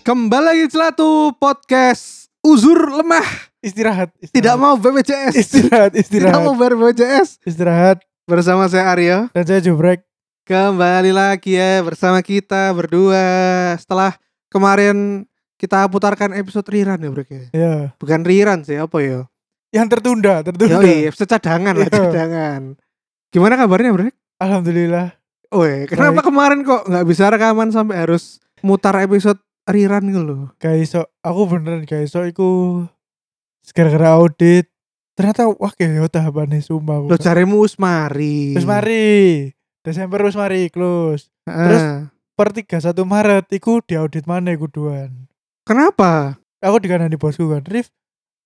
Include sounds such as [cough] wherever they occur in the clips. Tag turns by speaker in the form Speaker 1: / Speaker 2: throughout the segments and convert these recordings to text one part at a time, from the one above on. Speaker 1: Kembali lagi di Celatu Podcast Uzur lemah
Speaker 2: istirahat,
Speaker 1: Tidak
Speaker 2: istirahat.
Speaker 1: mau BPJS
Speaker 2: istirahat
Speaker 1: [laughs] Tidak
Speaker 2: istirahat
Speaker 1: mau bayar BPJS
Speaker 2: istirahat
Speaker 1: Bersama saya Aryo
Speaker 2: dan saya jubrek
Speaker 1: Kembali lagi ya bersama kita berdua Setelah kemarin kita putarkan episode rerun ya bro ya?
Speaker 2: ya
Speaker 1: Bukan rerun sih apa [laughs] ya
Speaker 2: yang tertunda tertunda
Speaker 1: Yoi episode cadangan lah
Speaker 2: Iya.
Speaker 1: cadangan Gimana kabarnya bro?
Speaker 2: alhamdulillah
Speaker 1: Weh kenapa kemarin kok nggak bisa rekaman sampai harus mutar episode rerun gitu loh
Speaker 2: kaiso aku beneran kaiso iku gara-gara audit ternyata wah kayak tahapannya sumpah
Speaker 1: Lo carimu Iya. Usmari
Speaker 2: terus mari Desember terus mari close
Speaker 1: Terus
Speaker 2: terus- per 31 Maret iku diaudit mana iku duan
Speaker 1: Kenapa?
Speaker 2: aku dikandani bosku kan Rif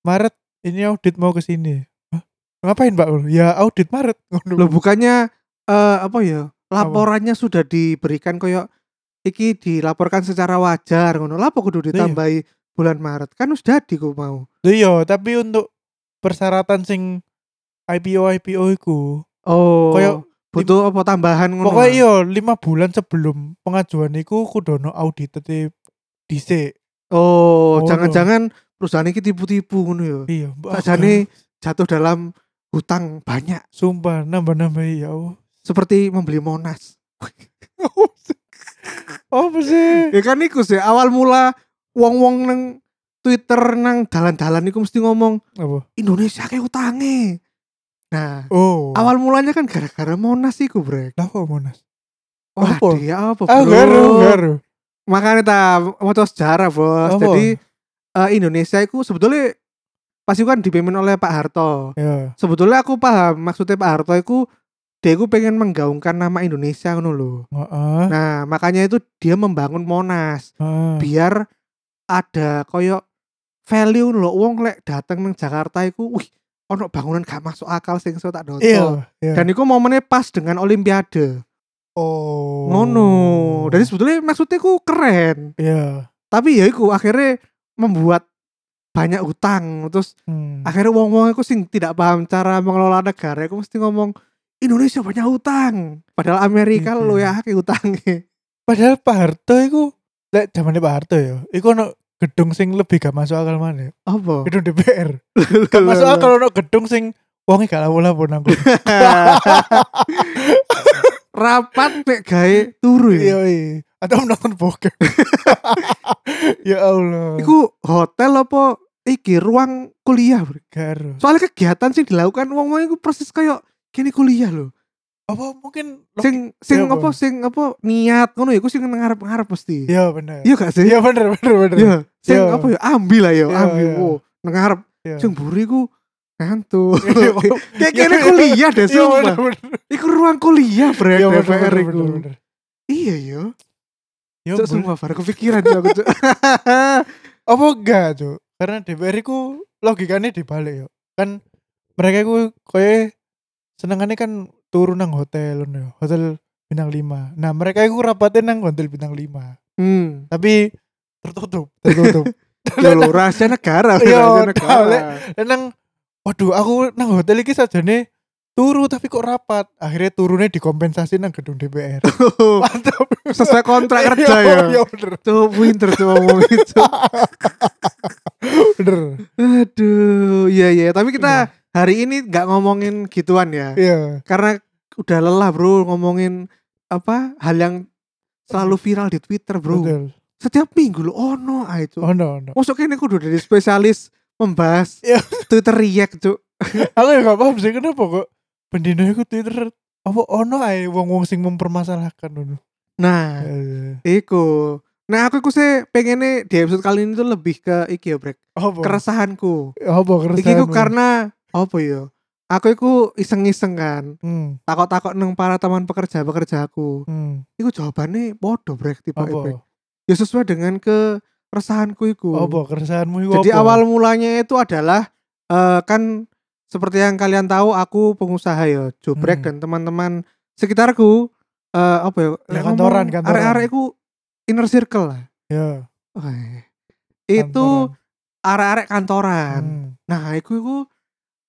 Speaker 2: Maret ini audit mau ke sini Hah? ngapain mbak ya audit Maret [laughs]
Speaker 1: Loh bukannya eh Gitu. apa ya? Laporannya sudah diberikan koyo iki dilaporkan secara wajar ngono. Lah apa kudu
Speaker 2: iya.
Speaker 1: ditambahi bulan Maret? Kan wis jadi ku mau.
Speaker 2: Lho iya, tapi untuk persyaratan sing IPO IPO iku,
Speaker 1: Oh.
Speaker 2: Koyo-
Speaker 1: butuh apa tambahan ngono.
Speaker 2: pokoknya iya 5 bulan sebelum pengajuan iku kudu ono audit dhisik.
Speaker 1: Oh,
Speaker 2: Oh,
Speaker 1: jangan-jangan perusahaan iki tipu-tipu ngono ya.
Speaker 2: Iya, mbak.
Speaker 1: Sajane jatuh dalam hutang banyak
Speaker 2: sumpah nambah-nambah ya. Allah.
Speaker 1: seperti membeli Monas.
Speaker 2: Apa sih?
Speaker 1: [laughs] ya kan iku sih awal mula wong-wong nang Twitter nang dalan-dalan iku mesti ngomong
Speaker 2: Apa?
Speaker 1: Indonesia kayak utange. Nah,
Speaker 2: Oh.
Speaker 1: Awal mulanya kan gara-gara Monas iku, Brek.
Speaker 2: lah kok Monas.
Speaker 1: Wah,
Speaker 2: Apa?
Speaker 1: dia apa, Oh, Bro?
Speaker 2: Ah, garu, garu.
Speaker 1: Makanya ta maca sejarah, Bos.
Speaker 2: Apa?
Speaker 1: Jadi eh, Indonesia iku sebetulnya pasti kan dipimpin oleh Pak Harto.
Speaker 2: Ya.
Speaker 1: Sebetulnya aku paham maksudnya Pak Harto iku dia iku pengen menggaungkan nama Indonesia ngono lho.
Speaker 2: Heeh.
Speaker 1: Nah, makanya itu dia membangun Monas
Speaker 2: heeh.
Speaker 1: biar ada koyo value lho wong lek dateng nang Jakarta iku wih ono bangunan gak masuk akal sing iso tak dotol.
Speaker 2: Iya, iya.
Speaker 1: Dan iku momennya pas dengan olimpiade.
Speaker 2: oh.
Speaker 1: ngono dari sebetulnya maksudnya ku keren
Speaker 2: Iya.
Speaker 1: tapi ya iku akhirnya membuat banyak utang terus
Speaker 2: Hmm.
Speaker 1: akhirnya wong wong aku sing tidak paham cara mengelola negara aku mesti ngomong Indonesia banyak utang padahal Amerika
Speaker 2: Iya.
Speaker 1: lo ya kayak
Speaker 2: [laughs]
Speaker 1: utangnya
Speaker 2: Padahal Pak Harto iku lek zamane Pak Harto ya, iku ono gedung sing lebih gak masuk akal mana?
Speaker 1: apa
Speaker 2: gedung DPR gak masuk akal ono gedung sing wonge gak lawu-lawu nang kono.
Speaker 1: [laughs] rapat mek gawe turu ya
Speaker 2: iya iya atau nonton
Speaker 1: [laughs]
Speaker 2: bokep ya Allah
Speaker 1: iku hotel apa iki ruang kuliah bro.
Speaker 2: garo
Speaker 1: soalnya kegiatan sing dilakukan wong wong iku persis kayak kini kuliah loh
Speaker 2: apa mungkin lo-
Speaker 1: sing sing
Speaker 2: Iya,
Speaker 1: apa
Speaker 2: Bang.
Speaker 1: sing apa niat ngono ya iku sing ngarep-ngarep mesti.
Speaker 2: iya bener
Speaker 1: Iya gak sih?
Speaker 2: iya bener bener bener
Speaker 1: Iya. Sing
Speaker 2: Iya.
Speaker 1: apa ya ambil lah ya,
Speaker 2: Iya,
Speaker 1: ambil.
Speaker 2: iya.
Speaker 1: Oh, ngarep.
Speaker 2: Iya.
Speaker 1: Sing buri ku ngantuk.
Speaker 2: [laughs] Iya, Bang.
Speaker 1: [laughs] Kayak kene
Speaker 2: Iya.
Speaker 1: kuliah deh
Speaker 2: [laughs] iya bener
Speaker 1: sumpah.
Speaker 2: bener
Speaker 1: Iku ruang kuliah brek
Speaker 2: iya bener
Speaker 1: DPR
Speaker 2: bener
Speaker 1: iku.
Speaker 2: bener, bener
Speaker 1: Iya yo.
Speaker 2: ya
Speaker 1: Cuk
Speaker 2: bener.
Speaker 1: sumpah baru kepikiran yo aku
Speaker 2: [laughs]
Speaker 1: cuk.
Speaker 2: apa enggak tuh karena DPR iku logikanya dibalik yo kan mereka iku koyo senengannya kan turun nang hotel ngono yo. hotel bintang 5 nah mereka iku rapatnya nang hotel bintang 5
Speaker 1: Hmm.
Speaker 2: tapi tertutup tertutup
Speaker 1: Yo lo rahasia negara, rahasia
Speaker 2: Iya, tau,
Speaker 1: negara.
Speaker 2: Lek. dan nang waduh aku nang hotel iki sajane turu tapi kok rapat akhirnya turunnya dikompensasi nang gedung DPR
Speaker 1: [laughs]
Speaker 2: mantap
Speaker 1: Oh, Sesuai kontrak
Speaker 2: [laughs]
Speaker 1: kerja
Speaker 2: Iya,
Speaker 1: ya.
Speaker 2: iya bener
Speaker 1: Tuh pinter tuh ngomong itu.
Speaker 2: [laughs] bener
Speaker 1: Aduh, iya iya. Tapi kita hari ini nggak ngomongin gituan ya,
Speaker 2: iya
Speaker 1: karena udah lelah bro ngomongin apa hal yang selalu viral di Twitter bro.
Speaker 2: betul
Speaker 1: Setiap minggu lo ono ah itu.
Speaker 2: oh no no
Speaker 1: Masuk ini kudu dari spesialis membahas
Speaker 2: Iya.
Speaker 1: Twitter react tuh.
Speaker 2: aku ya gak paham sih kenapa kok pendino iku Twitter apa ono ae wong-wong sing mempermasalahkan ngono
Speaker 1: Nah,
Speaker 2: Eh,
Speaker 1: iku. Nah aku iku sih pengennya di episode kali ini tuh lebih ke iki ya brek.
Speaker 2: apa
Speaker 1: Keresahanku.
Speaker 2: apa keresahan
Speaker 1: Iki ku karena apa ya? Aku iku iseng-iseng kan.
Speaker 2: hmm,
Speaker 1: Takut-takut neng para teman pekerja pekerja aku.
Speaker 2: hmm.
Speaker 1: Iku jawabannya bodoh brek tipe
Speaker 2: apa
Speaker 1: brek. Ya sesuai dengan ke resahanku iku.
Speaker 2: apa keresahanmu iku
Speaker 1: Jadi
Speaker 2: apa?
Speaker 1: awal mulanya itu adalah eh, kan seperti yang kalian tahu aku pengusaha ya, Jobrek
Speaker 2: Hmm.
Speaker 1: dan teman-teman sekitarku eh apa ya?
Speaker 2: Ya, kantoran, kantoran.
Speaker 1: Arek-arek iku inner circle lah.
Speaker 2: ya
Speaker 1: Wah. Itu
Speaker 2: kantoran.
Speaker 1: arek-arek kantoran.
Speaker 2: Hmm.
Speaker 1: Nah, iku iku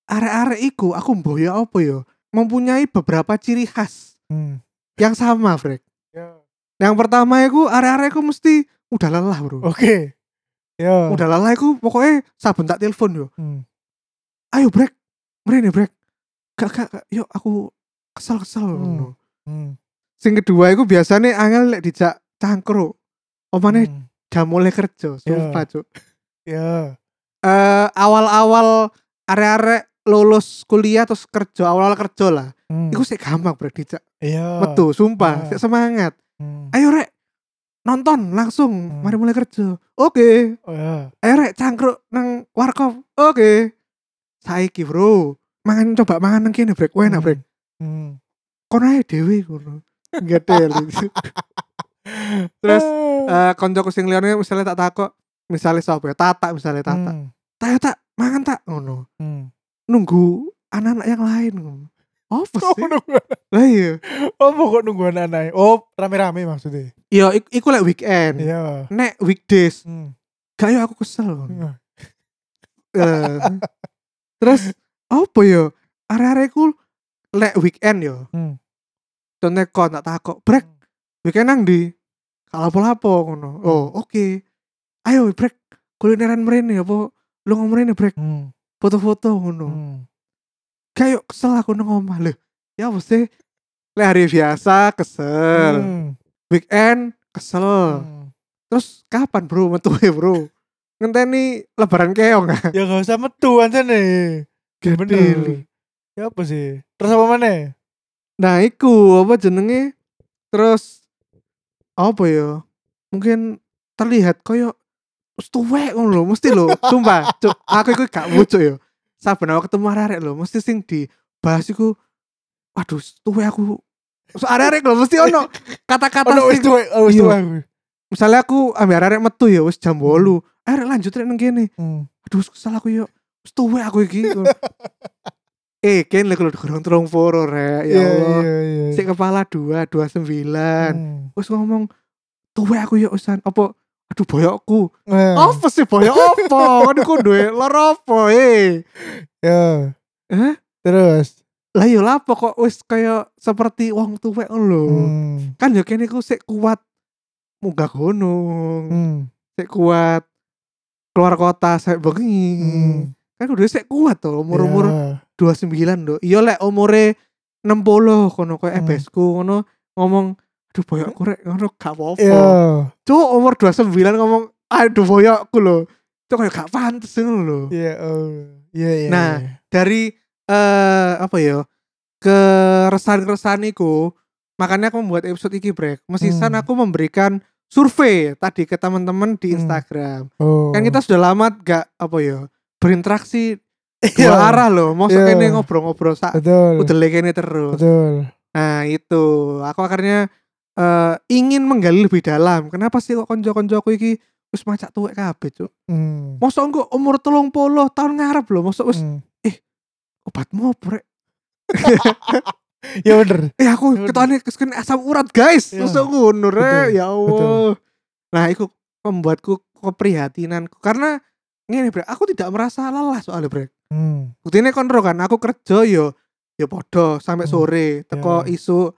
Speaker 1: arek-arek iku aku mboyo apa ya? Mempunyai beberapa ciri khas
Speaker 2: Hmm.
Speaker 1: yang sama, Brek.
Speaker 2: Ya.
Speaker 1: Yang pertama iku arek-arek iku mesti udah lelah bro
Speaker 2: Oke. Ya.
Speaker 1: udah lelah aku pokoknya saben tak telepon yo
Speaker 2: Hmm.
Speaker 1: ayo break mrene break gak gak gak. yo aku kesel kesel
Speaker 2: Hmm. Hmm.
Speaker 1: sing kedua aku biasanya angel lek dijak cangkruk omane
Speaker 2: Hmm. Iya.
Speaker 1: udah mulai kerja sumpah cuk
Speaker 2: Ya.
Speaker 1: Eh, awal-awal arek-arek lulus kuliah terus kerja awal-awal kerja lah
Speaker 2: Hmm.
Speaker 1: iku sih gampang bro dijak
Speaker 2: Iya.
Speaker 1: metu sumpah
Speaker 2: Ah.
Speaker 1: sik semangat
Speaker 2: Hmm.
Speaker 1: ayo rek nonton langsung
Speaker 2: Hmm.
Speaker 1: mari mulai kerja oke
Speaker 2: Oh, ya.
Speaker 1: ayo rek cangkruk nang warkop oke saiki bro mangan coba mangan nang kene brek Wah, enak
Speaker 2: Hmm.
Speaker 1: brek
Speaker 2: Hmm.
Speaker 1: kono ae dhewe ngono enggak deli terus eh koncoku sing liyane misalnya tak takok misalnya sapa ya tata misalnya tata
Speaker 2: Hmm.
Speaker 1: tak ya, tak mangan tak ngono
Speaker 2: Hmm.
Speaker 1: nunggu anak-anak yang lain ngono apa
Speaker 2: Oh,
Speaker 1: sih
Speaker 2: nunggu-
Speaker 1: lah iya
Speaker 2: oh, pokok nunggu anak-anak. Oh, rame-rame maksudnya.
Speaker 1: iya ik- iku lek weekend
Speaker 2: Iya.
Speaker 1: nek weekdays
Speaker 2: Hmm.
Speaker 1: gak yo aku kesel ngono. Eh, terus apa yo arek-arekku lek weekend yo
Speaker 2: Hmm.
Speaker 1: contohnya kon tak takok brek weekend nang di kalau lapo ngono oh
Speaker 2: Hmm.
Speaker 1: oke ayo brek kulineran mrene apa lu ngomrene brek
Speaker 2: Hmm.
Speaker 1: foto-foto ngono
Speaker 2: Hmm.
Speaker 1: kayak kesel aku nang omah lho ya apa sih lek hari biasa kesel
Speaker 2: Hmm.
Speaker 1: weekend kesel
Speaker 2: Hmm.
Speaker 1: terus kapan bro metu bro ngenteni lebaran keong [laughs] ah
Speaker 2: Ya gak usah metu aja nih.
Speaker 1: Bener.
Speaker 2: Bener. Ya apa sih? Terus apa mana?
Speaker 1: Nah, iku apa jenenge? Terus apa ya? Mungkin terlihat koyo wis tuwek ngono lho, mesti
Speaker 2: [laughs]
Speaker 1: lho. Sumpah, cuk, aku iku gak wucuk ya. Saben aku ketemu arek lho, mesti sing dibahas iku waduh, wis tuwek aku. So, arek lho mesti ono kata-kata
Speaker 2: Oh, no, wis
Speaker 1: sing
Speaker 2: tua, oh, wis
Speaker 1: Iya.
Speaker 2: tua aku.
Speaker 1: misalnya aku ambil arek metu ya wis jam 8. Arek lanjut rek nang kene.
Speaker 2: Hmm.
Speaker 1: Aduh, wis kesel aku yo. Wis tuwek aku
Speaker 2: [laughs]
Speaker 1: iki. eh, kene lho gorong terung poro rek. Ya
Speaker 2: Iya,
Speaker 1: Allah. kan.
Speaker 2: iya, iya.
Speaker 1: si kepala dua dua sembilan
Speaker 2: Hmm.
Speaker 1: terus ngomong tuwe aku ya usan apa aduh boyokku
Speaker 2: Eh,
Speaker 1: apa sih boyok apa kan aku duwe lara apa eh
Speaker 2: Ya.
Speaker 1: Hah?
Speaker 2: Terus.
Speaker 1: lah yo lapo kok wis kayak seperti wong tuwek lho
Speaker 2: Hmm.
Speaker 1: kan yo kene ku sik kuat munggah gunung
Speaker 2: Hmm.
Speaker 1: sik kuat keluar kota sik bengi
Speaker 2: Hmm.
Speaker 1: kan kudu sik kuat to umur-umur
Speaker 2: Ya.
Speaker 1: 29 lho. Iya lek umure 60 kono koyo
Speaker 2: Hmm.
Speaker 1: ebesku ngono ngomong aduh boyokku rek ngono gak apa-apa.
Speaker 2: Ya.
Speaker 1: Cuk umur 29 ngomong aduh boyokku lho. Cuk kayak gak pantes ngono lho.
Speaker 2: Iya, oh. Iya, iya.
Speaker 1: Nah.
Speaker 2: iya.
Speaker 1: Dari eh apa ya? keresahan-keresahan iku makanya aku membuat episode iki break. Mesisan
Speaker 2: Hmm.
Speaker 1: aku memberikan survei tadi ke teman-teman di
Speaker 2: Hmm.
Speaker 1: Instagram.
Speaker 2: Oh.
Speaker 1: Kan kita sudah lama gak apa ya? berinteraksi
Speaker 2: [laughs] Iya.
Speaker 1: dua arah loh. Maksudnya
Speaker 2: Iya.
Speaker 1: ini ngobrol-ngobrol sak
Speaker 2: Betul.
Speaker 1: udah ini terus.
Speaker 2: Betul.
Speaker 1: Nah itu aku akhirnya eh, ingin menggali lebih dalam. Kenapa sih kok konco-koncoku iki wis macak tuwek kabeh, Cuk?
Speaker 2: Hmm.
Speaker 1: Mosok engko umur 30 tahun ngarep lho, mosok wis
Speaker 2: Hmm.
Speaker 1: obatmu opo rek?
Speaker 2: Ya bener.
Speaker 1: Eh aku
Speaker 2: Betul.
Speaker 1: ketane kesken asam urat, guys.
Speaker 2: Iya.
Speaker 1: Mosok ngono rek,
Speaker 2: Betul.
Speaker 1: ya Allah. Nah, itu membuatku keprihatinanku karena ngene, Brek. Aku tidak merasa lelah soalnya, Brek.
Speaker 2: Hmm.
Speaker 1: Buktinya kontrol kan, aku kerja yo yo podo sampai
Speaker 2: Hmm.
Speaker 1: sore, teko
Speaker 2: Ya.
Speaker 1: isu.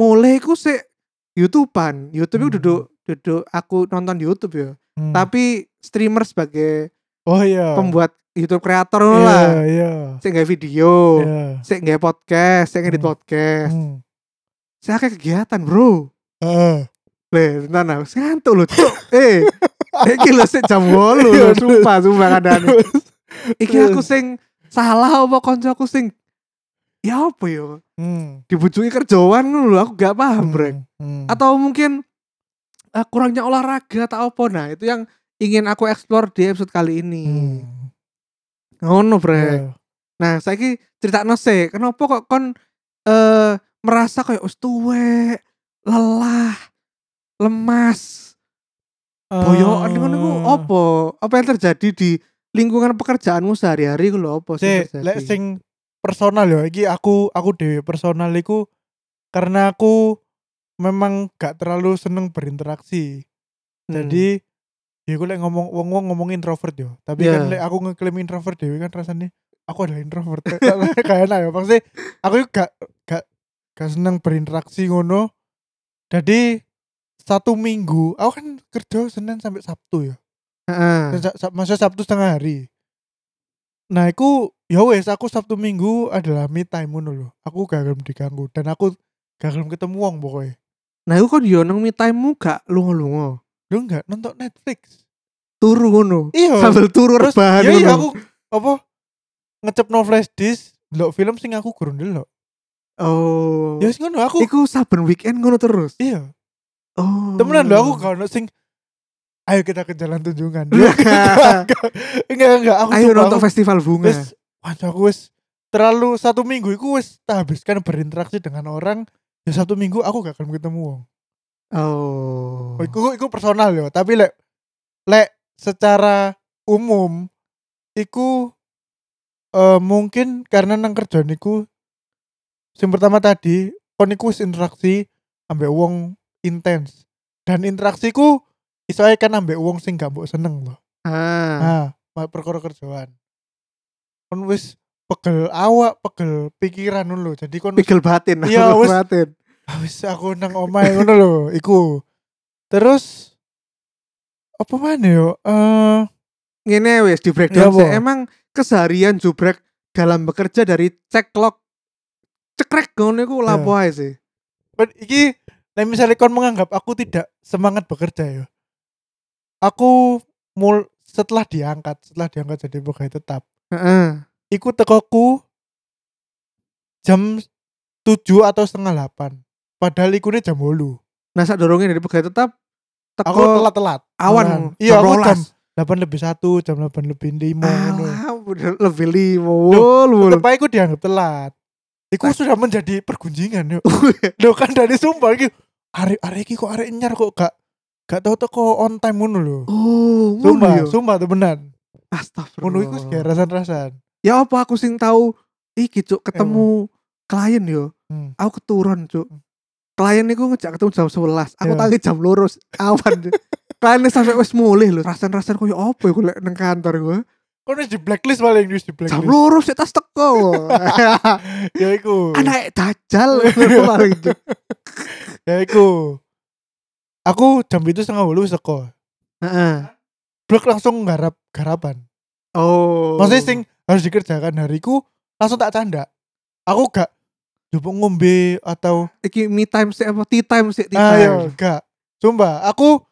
Speaker 1: Mulai ku sik YouTubean, YouTube ku
Speaker 2: Hmm.
Speaker 1: duduk duduk aku nonton YouTube ya.
Speaker 2: Hmm.
Speaker 1: Tapi streamer sebagai
Speaker 2: oh iya.
Speaker 1: pembuat YouTube kreator
Speaker 2: Iya,
Speaker 1: ngono lah.
Speaker 2: Iya.
Speaker 1: Sik nggawe video,
Speaker 2: Iya.
Speaker 1: sik nggawe podcast, sik ngedit
Speaker 2: Hmm.
Speaker 1: podcast.
Speaker 2: Hmm.
Speaker 1: Sik akeh kegiatan, Bro.
Speaker 2: Heeh.
Speaker 1: Leh, bentar nah, sik ngantuk lho, Cuk. Eh. Iki lho sik jam 8 lho,
Speaker 2: Iya,
Speaker 1: sumpah, sumpah kadane. Iki
Speaker 2: Terus.
Speaker 1: aku sing salah apa koncoku sing ya apa yo
Speaker 2: Hmm.
Speaker 1: dibujuki kerjaan ngono lho aku gak paham brek
Speaker 2: Hmm.
Speaker 1: Ah, atau mungkin eh, kurangnya olahraga atau apa nah itu yang ingin aku explore di episode kali ini
Speaker 2: Hmm.
Speaker 1: ngono brek
Speaker 2: Iya.
Speaker 1: nah saiki cerita sih kenapa kok kon eh merasa kayak us tuwek lelah lemas boyokan ngono iku
Speaker 2: Eh,
Speaker 1: apa apa yang terjadi di lingkungan pekerjaanmu sehari-hari iku lho apa sih
Speaker 2: Sik,
Speaker 1: terjadi?
Speaker 2: lek sing personal ya iki aku aku dhewe personal iku karena aku memang gak terlalu seneng berinteraksi.
Speaker 1: Hmm.
Speaker 2: Jadi ya gue lek ngomong wong wong ngomong introvert yo. Tapi kan
Speaker 1: Iya.
Speaker 2: lek aku ngeklaim introvert dewe kan rasanya aku adalah introvert. [laughs] Kayak enak ya maksudnya aku yuk gak gak gak seneng berinteraksi ngono. Jadi satu minggu aku kan kerja senin sampai sabtu ya
Speaker 1: Heeh.
Speaker 2: Sa- sa- maksudnya sabtu setengah hari nah aku ya wes aku sabtu minggu adalah me time ngono lho aku gagal diganggu dan aku gagal ketemu wong pokoknya
Speaker 1: Nah, iku kon yo nang me time-mu gak lunga-lunga.
Speaker 2: lu enggak nonton Netflix
Speaker 1: Turu ngono.
Speaker 2: iya
Speaker 1: Sambil turu
Speaker 2: Oh. terus
Speaker 1: rebahan
Speaker 2: iya
Speaker 1: ngono.
Speaker 2: iya aku apa ngecep no flash disk ndelok film sing aku kurang delok
Speaker 1: Oh.
Speaker 2: ya wis ngono aku
Speaker 1: Iku saben weekend ngono terus.
Speaker 2: iya
Speaker 1: Oh.
Speaker 2: temenan lho aku kalau sing ayo kita ke jalan
Speaker 1: [laughs]
Speaker 2: tunjungan [laughs] Ya, enggak enggak aku
Speaker 1: Ayo
Speaker 2: sumpah,
Speaker 1: nonton
Speaker 2: aku
Speaker 1: festival bunga.
Speaker 2: wis waduh aku wis terlalu satu minggu iku wis tak habiskan berinteraksi dengan orang ya satu minggu aku gak akan ketemu wong
Speaker 1: Oh.
Speaker 2: iku iku personal yo tapi lek lek secara umum iku eh, mungkin karena nang kerjaan iku sing pertama tadi kon iku wis interaksi ambek wong intens dan interaksiku iso ae kan ambek wong sing gak mbok seneng loh
Speaker 1: Ah.
Speaker 2: Nah, ma- perkara kerjaan. Kon wis pegel awak, pegel pikiran ngono lho. Jadi kon wis,
Speaker 1: Pegel batin.
Speaker 2: Iya,
Speaker 1: pegel
Speaker 2: wes.
Speaker 1: batin.
Speaker 2: "Ah, wis aku nang omahe ngono lho, iku. Terus apa mana yo? Eh,
Speaker 1: Ngene wis di breakdown
Speaker 2: Iya,
Speaker 1: sih.
Speaker 2: Bo.
Speaker 1: Emang keseharian jubrek dalam bekerja dari cek log cekrek ngono iku
Speaker 2: Iya.
Speaker 1: lapo ae sih.
Speaker 2: ben iki nek misalnya kon menganggap aku tidak semangat bekerja yo. Aku mul setelah diangkat, setelah diangkat jadi pegawai tetap.
Speaker 1: Heeh.
Speaker 2: Iku tekoku jam 7 atau setengah 8. Padahal ikune jam 8.
Speaker 1: Nah, sak dorongnya dari pegawai tetap teko
Speaker 2: Aku telat-telat.
Speaker 1: awan.
Speaker 2: telan. Iya, aku
Speaker 1: rolas.
Speaker 2: jam 8 lebih 1, jam 8 lebih 5 ngono.
Speaker 1: Alah, udah lebih lima wul wul.
Speaker 2: Tetep aja aku dianggap telat. Iku sudah menjadi pergunjingan yuk. Loh kan dari sumpah iki arek arek iki kok arek nyar kok gak gak tau teko on time ngono lho.
Speaker 1: Oh, ngono
Speaker 2: Sumpah,
Speaker 1: ya.
Speaker 2: sumpah temenan. Ngono iku
Speaker 1: Astagfirullah.
Speaker 2: kayak rasan-rasan.
Speaker 1: Ya apa aku sing tahu iki cuk ketemu klien yo.
Speaker 2: Hmm.
Speaker 1: Aku keturun cuk. Klien niku ngejak ketemu jam 11. Aku
Speaker 2: Iya.
Speaker 1: tangi jam lurus awan. Kliennya sampai wis mulih lho. Rasan-rasan koyo apa iku lek nang kantor gua.
Speaker 2: Kon wis di blacklist paling wis di
Speaker 1: Jam
Speaker 2: blacklist.
Speaker 1: lurus ya tas teko.
Speaker 2: [laughs] Ya iku.
Speaker 1: Anak dajal [laughs] Aku paling cuk.
Speaker 2: Ya iku. Aku jam itu setengah bolu seko.
Speaker 1: Heeh.
Speaker 2: Blok langsung garap garapan.
Speaker 1: Oh.
Speaker 2: Maksudnya sing harus dikerjakan hariku langsung tak canda. Aku gak coba ngombe atau
Speaker 1: iki me time sih apa tea time sih tea time.
Speaker 2: ayo gak. Sumpah, aku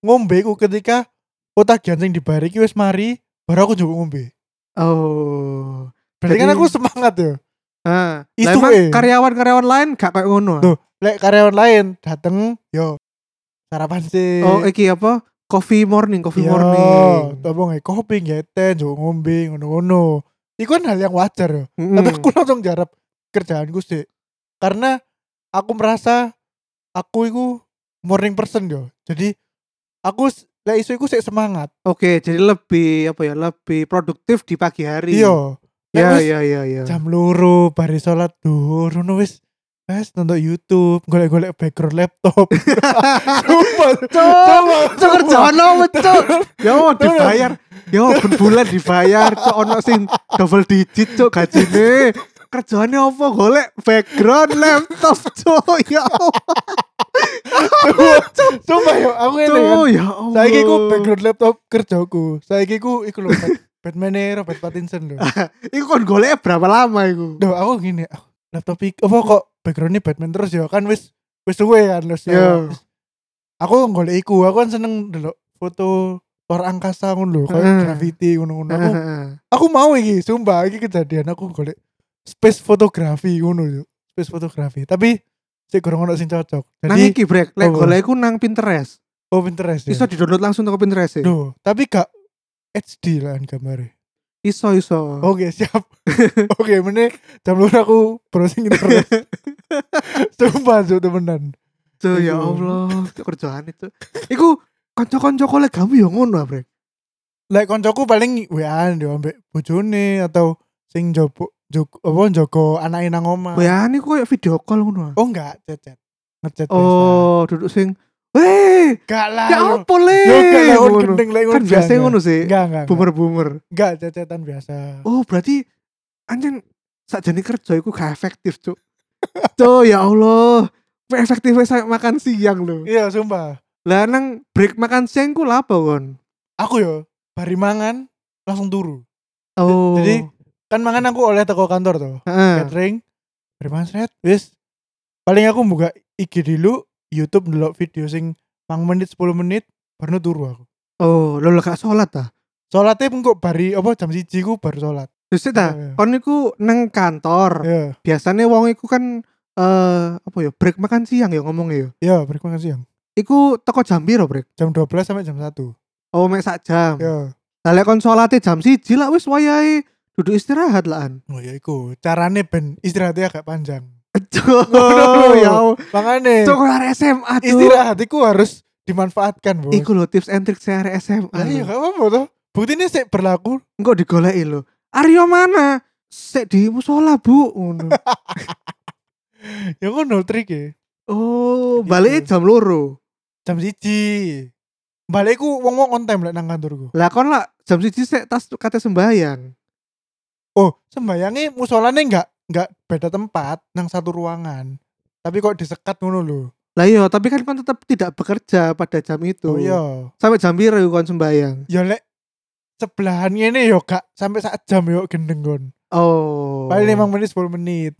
Speaker 2: ngombe ku ketika otak jantung di bar iki wis mari, baru aku coba ngombe.
Speaker 1: Oh.
Speaker 2: Berarti kan
Speaker 1: Jadi-
Speaker 2: aku semangat ya.
Speaker 1: Ah, lah
Speaker 2: Itu,
Speaker 1: emang
Speaker 2: eh.
Speaker 1: karyawan-karyawan lain gak kayak ngono. ah?
Speaker 2: Tuh, Lek karyawan lain dateng, yo sarapan sih.
Speaker 1: Oh, iki apa? Coffee morning, coffee
Speaker 2: Yo,
Speaker 1: morning.
Speaker 2: Apa nggak kopi ngeten, coba ngombe ngono-ngono. Iku kan hal yang wajar ya.
Speaker 1: Mm.
Speaker 2: tapi aku [laughs] langsung jarap kerjaanku sih karena aku merasa aku itu morning person yo jadi aku s- lek isu iku sik semangat
Speaker 1: Oke, jadi lebih apa ya? Lebih produktif di pagi hari.
Speaker 2: iya Lek
Speaker 1: Ya,
Speaker 2: wis
Speaker 1: ya, ya, ya.
Speaker 2: jam loro bari salat dhuwur ngono wis wis nonton YouTube golek-golek background laptop sumpah
Speaker 1: Cok, cok kerjaan apa cok? Ya Allah,
Speaker 2: Tuh.
Speaker 1: dibayar. Ya Allah, ben bulan dibayar cok ono sing double digit cok gajine. Kerjaannya apa? Golek background laptop cok. Ya Allah,
Speaker 2: sumpah yo aku ini kan
Speaker 1: cok. Ya Allah.
Speaker 2: saiki ku background laptop kerjaku saiki ku iku lho Bat- Batman Robert Pattinson lho
Speaker 1: Iku kon goleknya berapa lama iku?
Speaker 2: Duh, aku gini, ah, laptop iki apa kok backgroundnya Batman terus ya kan wis wis suwe kan wis.
Speaker 1: Yo.
Speaker 2: Aku golek iku, aku kan seneng delok foto luar angkasa ngono lho, kayak
Speaker 1: Heeh.
Speaker 2: graffiti ngono-ngono. Aku,
Speaker 1: Heeh.
Speaker 2: aku mau iki, sumpah iki kejadian aku golek space fotografi ngono lho, space fotografi. Tapi sik kurang ono sing cocok.
Speaker 1: Nang
Speaker 2: Jadi
Speaker 1: iki brek, lek
Speaker 2: apa?
Speaker 1: golek iku nang Pinterest.
Speaker 2: oh Pinterest ya.
Speaker 1: Iso di-download langsung toko Pinterest. ya?
Speaker 2: Duh, tapi gak HD lah kan gambarnya.
Speaker 1: Iso iso.
Speaker 2: Oke siap. [laughs] Oke meneh jam luar aku
Speaker 1: [laughs]
Speaker 2: browsing internet. Sumpah tuh temenan.
Speaker 1: Tuh ya
Speaker 2: Iku.
Speaker 1: Allah, cuk, kerjaan itu. Iku kanca-kanca kolegamu ya ngono ah, Brek.
Speaker 2: Lek koncoku paling WA-an yo ambek bojone atau sing jopo jog apa jogo anake nang omah.
Speaker 1: Bayane ku koyo video call ngono. ah.
Speaker 2: Oh enggak, cecet. Ngecet
Speaker 1: Oh, duduk sing Weh,
Speaker 2: biasa. Gak lah.
Speaker 1: ya
Speaker 2: yo.
Speaker 1: apa
Speaker 2: Yo gak
Speaker 1: le?
Speaker 2: lah on
Speaker 1: Ngono.
Speaker 2: gendeng lek
Speaker 1: Kan biasa ngono sih,
Speaker 2: Enggak enggak. enggak.
Speaker 1: bumer-bumer.
Speaker 2: Enggak cecetan biasa.
Speaker 1: Oh, berarti anjen sakjane kerja iku gak efektif, Cuk. Tuh ya Allah. Efektifnya saya makan siang loh.
Speaker 2: Iya, sumpah.
Speaker 1: Lah nang break makan siang ku lapo kon?
Speaker 2: aku yo bari mangan langsung turu
Speaker 1: Oh.
Speaker 2: jadi- kan mangan aku oleh toko kantor tuh
Speaker 1: Heeh.
Speaker 2: catering bari mangan seret wis paling aku buka IG dulu YouTube dulu video sing mang menit 10 menit baru turu aku
Speaker 1: Oh, lo gak sholat ta?
Speaker 2: sholatnya pun kok bari apa jam siji ku baru sholat
Speaker 1: Terus ta,
Speaker 2: Iya, iya.
Speaker 1: kon iku nang kantor.
Speaker 2: ya
Speaker 1: Biasanya wong iku kan eh apa ya break makan siang ya ngomongnya ya.
Speaker 2: ya bari makan siang
Speaker 1: Iku teko jam piro break?
Speaker 2: jam 12 sampai jam 1
Speaker 1: Oh, mek sak jam.
Speaker 2: ya
Speaker 1: Lah lek kon sholate jam 1 lah wis wayahe duduk istirahat lah
Speaker 2: oh ya iku carane ben istirahatnya agak panjang
Speaker 1: [laughs] Cuk,
Speaker 2: Oh.
Speaker 1: ya Allah.
Speaker 2: makanya
Speaker 1: Cuk, arek SMA cuk.
Speaker 2: istirahat iku harus dimanfaatkan bos
Speaker 1: Iku lho tips and trick saya arek SMA.
Speaker 2: Lah
Speaker 1: lho.
Speaker 2: iya gak apa-apa toh. Buktinya sih berlaku.
Speaker 1: Engko digoleki lho. Aryo mana? Sik di musola, Bu. Ngono.
Speaker 2: [laughs] Ya ngono trik ya.
Speaker 1: Oh,
Speaker 2: Gitu.
Speaker 1: balik jam loro.
Speaker 2: Jam siji. Balik ku wong-wong on time lek nang kantorku.
Speaker 1: Lah kon lah jam 1 sik tas kate sembahyang.
Speaker 2: Oh, sembayangnya musolane enggak enggak beda tempat nang satu ruangan. Tapi kok disekat ngono lho.
Speaker 1: Lah iya, tapi kan kon tetap tidak bekerja pada jam itu.
Speaker 2: Oh iya.
Speaker 1: Sampai jam piro iku kon sembahyang?
Speaker 2: Ya lek sebelahan ngene yo gak sampai sak jam yo gendeng kon.
Speaker 1: Oh.
Speaker 2: Paling 5 menit 10 menit.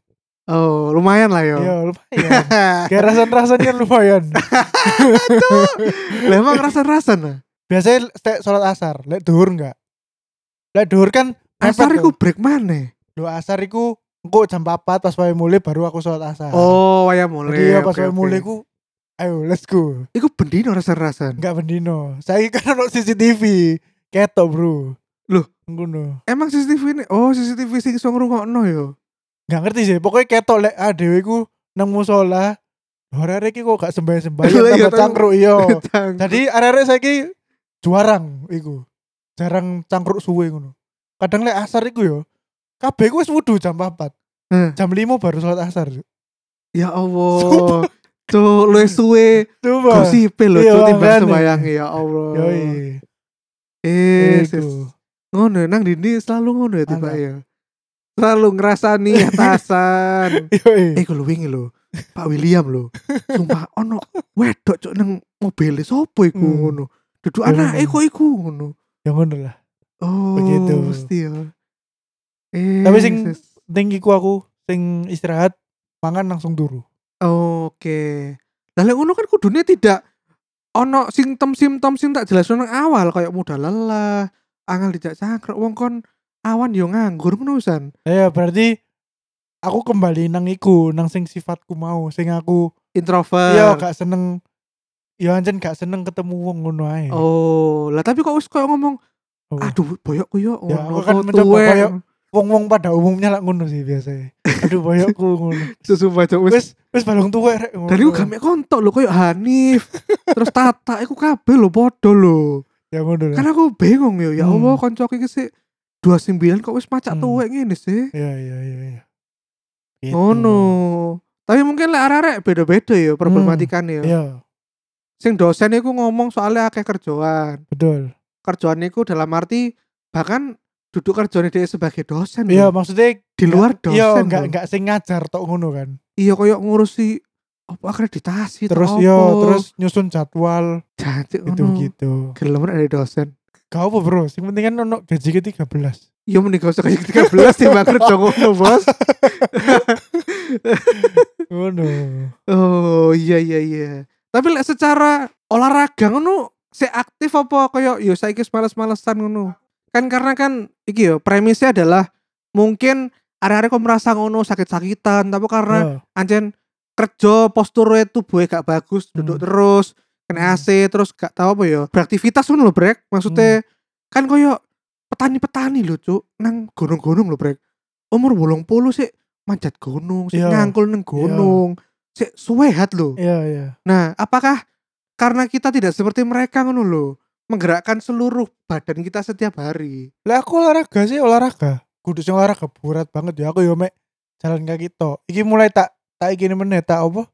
Speaker 1: Oh, lumayan lah yo.
Speaker 2: Ya lumayan. Kayak rasan-rasannya lumayan.
Speaker 1: [laughs] lah emang rasa-rasa nah.
Speaker 2: Biasanya setiap sholat asar, lek duhur enggak? Lek duhur kan mepet
Speaker 1: Asar
Speaker 2: tuh. Nah.
Speaker 1: iku break mana?
Speaker 2: Lo asar iku engko jam 4 pas wae mulai baru aku sholat asar.
Speaker 1: Oh, waya
Speaker 2: Jadi
Speaker 1: mulai.
Speaker 2: ya pas
Speaker 1: oke,
Speaker 2: wae
Speaker 1: oke.
Speaker 2: mulai ku ayo let's go.
Speaker 1: Iku bendino rasa-rasan.
Speaker 2: Enggak bendino. Saiki kan ono CCTV. Ketok, Bro.
Speaker 1: Loh?
Speaker 2: ngono.
Speaker 1: Emang CCTV ini? Oh, CCTV sing iso ngrungokno yo.
Speaker 2: Enggak ngerti sih. Pokoknya ketok lek ah dhewe ku nang musola. Arek-arek iki kok gak
Speaker 1: Lah, iya,
Speaker 2: sembah-sembahyang tambah
Speaker 1: tapi-
Speaker 2: cangkruk
Speaker 1: [laughs]
Speaker 2: iya.
Speaker 1: Cang-
Speaker 2: Jadi arek-arek saiki juarang iku. Jarang cangkruk suwe ngono. Kadang lek asar iku yo kabeh ku wis wudu jam 4.
Speaker 1: Eh.
Speaker 2: Jam 5 baru sholat asar.
Speaker 1: ya
Speaker 2: [laughs]
Speaker 1: Allah. Cuk, lu suwe
Speaker 2: Coba.
Speaker 1: gosip e lho
Speaker 2: Iya,
Speaker 1: cuk timbang
Speaker 2: makanya.
Speaker 1: sembayang ya Allah.
Speaker 2: Yoi. Iya,
Speaker 1: Eh, sis.
Speaker 2: Iku.
Speaker 1: ngono ya, nang dindi selalu ngono ya tiba
Speaker 2: Anak.
Speaker 1: ya. Selalu ngrasani
Speaker 2: [laughs]
Speaker 1: atasan.
Speaker 2: Yoi.
Speaker 1: eh, kalau wingi lho. Pak William lho. Sumpah ono wedok cuk nang mobil e. sopo iku
Speaker 2: Hmm.
Speaker 1: ngono. Duduk
Speaker 2: Iya,
Speaker 1: anak
Speaker 2: iya.
Speaker 1: iku iku ngono.
Speaker 2: Ya ngono lah.
Speaker 1: Oh,
Speaker 2: Begitu.
Speaker 1: Mesti ya. Eh,
Speaker 2: Tapi sing-
Speaker 1: sis.
Speaker 2: Ting iku aku sing istirahat mangan langsung turu.
Speaker 1: Oke. Lah lek ngono kan kudune tidak ono simptom-simptom sing tak jelasno nang awal kayak mudah lelah, angel dijak cangkruk wong kon awan yo nganggur ngono pisan.
Speaker 2: Ya berarti aku kembali nang iku, nang sing sifatku mau, sing aku
Speaker 1: Introvert.
Speaker 2: ya gak seneng ya anjen gak seneng ketemu wong ngono ae.
Speaker 1: Oh, lah tapi kok wis koyo ngomong,
Speaker 2: Oh.
Speaker 1: aduh boyok koyo
Speaker 2: Ya,
Speaker 1: ngono
Speaker 2: aku kan
Speaker 1: kok
Speaker 2: mencoba
Speaker 1: tuwek."
Speaker 2: koyok. Wong-wong pada umumnya lah ngono sih
Speaker 1: [laughs]
Speaker 2: biasanya. Aduh boyokku ngono.
Speaker 1: susu bacok wis.
Speaker 2: Wis wis balung tuwek rek ngono.
Speaker 1: Dan iku gak mek kontok lho koyo
Speaker 2: [laughs]
Speaker 1: Hanif. Terus Tata iku kabeh lho padha lho.
Speaker 2: ya ngono lah.
Speaker 1: Kan aku bingung yo, ya
Speaker 2: Hmm.
Speaker 1: Allah kancaku iki sik 29 kok wis macak
Speaker 2: Hmm.
Speaker 1: tuwek ngene sih.
Speaker 2: Iya iya iya iya. Gitu.
Speaker 1: Ngono. Tapi mungkin lek arek-arek beda-beda ya problematikane ya.
Speaker 2: Iya,
Speaker 1: Sing dosen iku ngomong soalnya akeh kerjaan.
Speaker 2: betul.
Speaker 1: Kerjaan iku dalam arti bahkan duduk kerjaan dia sebagai dosen.
Speaker 2: Iya,
Speaker 1: loh.
Speaker 2: maksudnya
Speaker 1: di luar dosen.
Speaker 2: Iya, enggak
Speaker 1: loh.
Speaker 2: enggak sing ngajar tok ngono kan.
Speaker 1: Iya koyo ngurusi apa akreditasi
Speaker 2: terus
Speaker 1: atau
Speaker 2: yo
Speaker 1: apa.
Speaker 2: terus nyusun jadwal
Speaker 1: jancuk
Speaker 2: gitu
Speaker 1: ngono.
Speaker 2: gitu
Speaker 1: Gelem ada dosen.
Speaker 2: gak apa bro sing penting kan ono gaji ke 13
Speaker 1: Iya mending gak usah kayak 13 sih mbak kerja ngono bos.
Speaker 2: ngono
Speaker 1: Oh iya iya iya. Tapi lek secara olahraga ngono saya aktif apa koyo yo saiki wis males-malesan ngono. Kan karena kan iki yo premisnya adalah mungkin arek-arek kok merasa ngono sakit-sakitan tapi karena
Speaker 2: Yo,
Speaker 1: anjen kerja posturnya tubuhnya gak bagus duduk
Speaker 2: Hmm.
Speaker 1: terus kena
Speaker 2: Hmm.
Speaker 1: AC terus gak tahu apa yo beraktivitas ngono lho brek maksudnya
Speaker 2: Hmm.
Speaker 1: kan koyo petani-petani lho cuk nang gunung-gunung lho brek umur bolong puluh sih manjat gunung sih
Speaker 2: Iya.
Speaker 1: ngangkul nang gunung sih suwehat lho
Speaker 2: iya iya
Speaker 1: Nah, apakah karena kita tidak seperti mereka ngono lho, menggerakkan seluruh badan kita setiap hari.
Speaker 2: lah aku olahraga sih olahraga kudu sing olahraga berat banget ya aku yo mek jalan kaki tok iki mulai tak tak iki meneh tak apa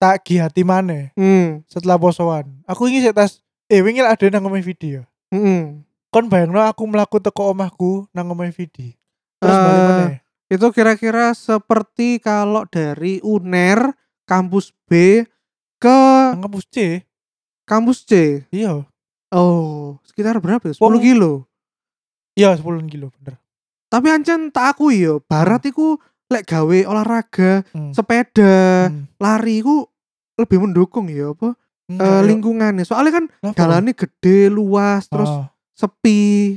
Speaker 2: tak giati maneh
Speaker 1: Hmm.
Speaker 2: setelah posoan aku ingin sik tas eh wingi lah ada nang ngomong video
Speaker 1: Mm-mm.
Speaker 2: kon bayangno aku mlaku teko omahku nang ngomong video terus
Speaker 1: Eh,
Speaker 2: balik meneh
Speaker 1: Itu kira-kira seperti kalau dari UNER kampus B ke
Speaker 2: nang kampus C
Speaker 1: kampus C
Speaker 2: Iya.
Speaker 1: oh sekitar berapa ya? 10
Speaker 2: Wong-
Speaker 1: kilo
Speaker 2: Iya 10 kilo bener.
Speaker 1: tapi ancen tak aku yo barat iku lek gawe olahraga
Speaker 2: Hmm.
Speaker 1: sepeda
Speaker 2: Hmm.
Speaker 1: lari iku lebih mendukung ya apa eh,
Speaker 2: Enggak, yuk.
Speaker 1: lingkungannya soalnya kan
Speaker 2: Kenapa?
Speaker 1: jalannya gede luas terus
Speaker 2: Ah,
Speaker 1: sepi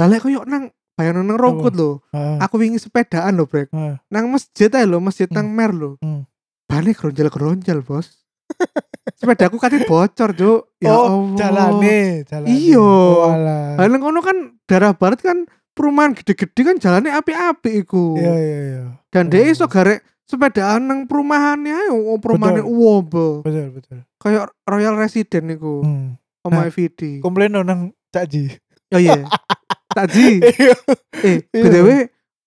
Speaker 1: lah lek koyo nang bayangan nang rongkut lho
Speaker 2: ah,
Speaker 1: aku wingi sepedaan lho brek
Speaker 2: ah.
Speaker 1: nang masjid ae lho masjid nang mer lho
Speaker 2: Hmm.
Speaker 1: balik geronjal-geronjal
Speaker 2: [laughs]
Speaker 1: bos sepedaku katanya bocor cuk Ya
Speaker 2: oh, jalane, jalane.
Speaker 1: Iya.
Speaker 2: Oh, alah.
Speaker 1: Lah nang kono kan daerah barat kan perumahan gede-gede kan jalannya api-api iku.
Speaker 2: Iya, iya, iya.
Speaker 1: Dan dia
Speaker 2: Oh.
Speaker 1: iso garek sepedaan nang perumahannya, oh, perumahannya
Speaker 2: Betul.
Speaker 1: uwo bo.
Speaker 2: Betul, betul.
Speaker 1: Kayak Royal Resident iku,
Speaker 2: Hmm.
Speaker 1: Oma
Speaker 2: Nah,
Speaker 1: VD.
Speaker 2: Komplain no nang Cak Ji.
Speaker 1: Oh iya. Takji.
Speaker 2: [laughs] Iya.
Speaker 1: Eh,
Speaker 2: Iya.
Speaker 1: BTW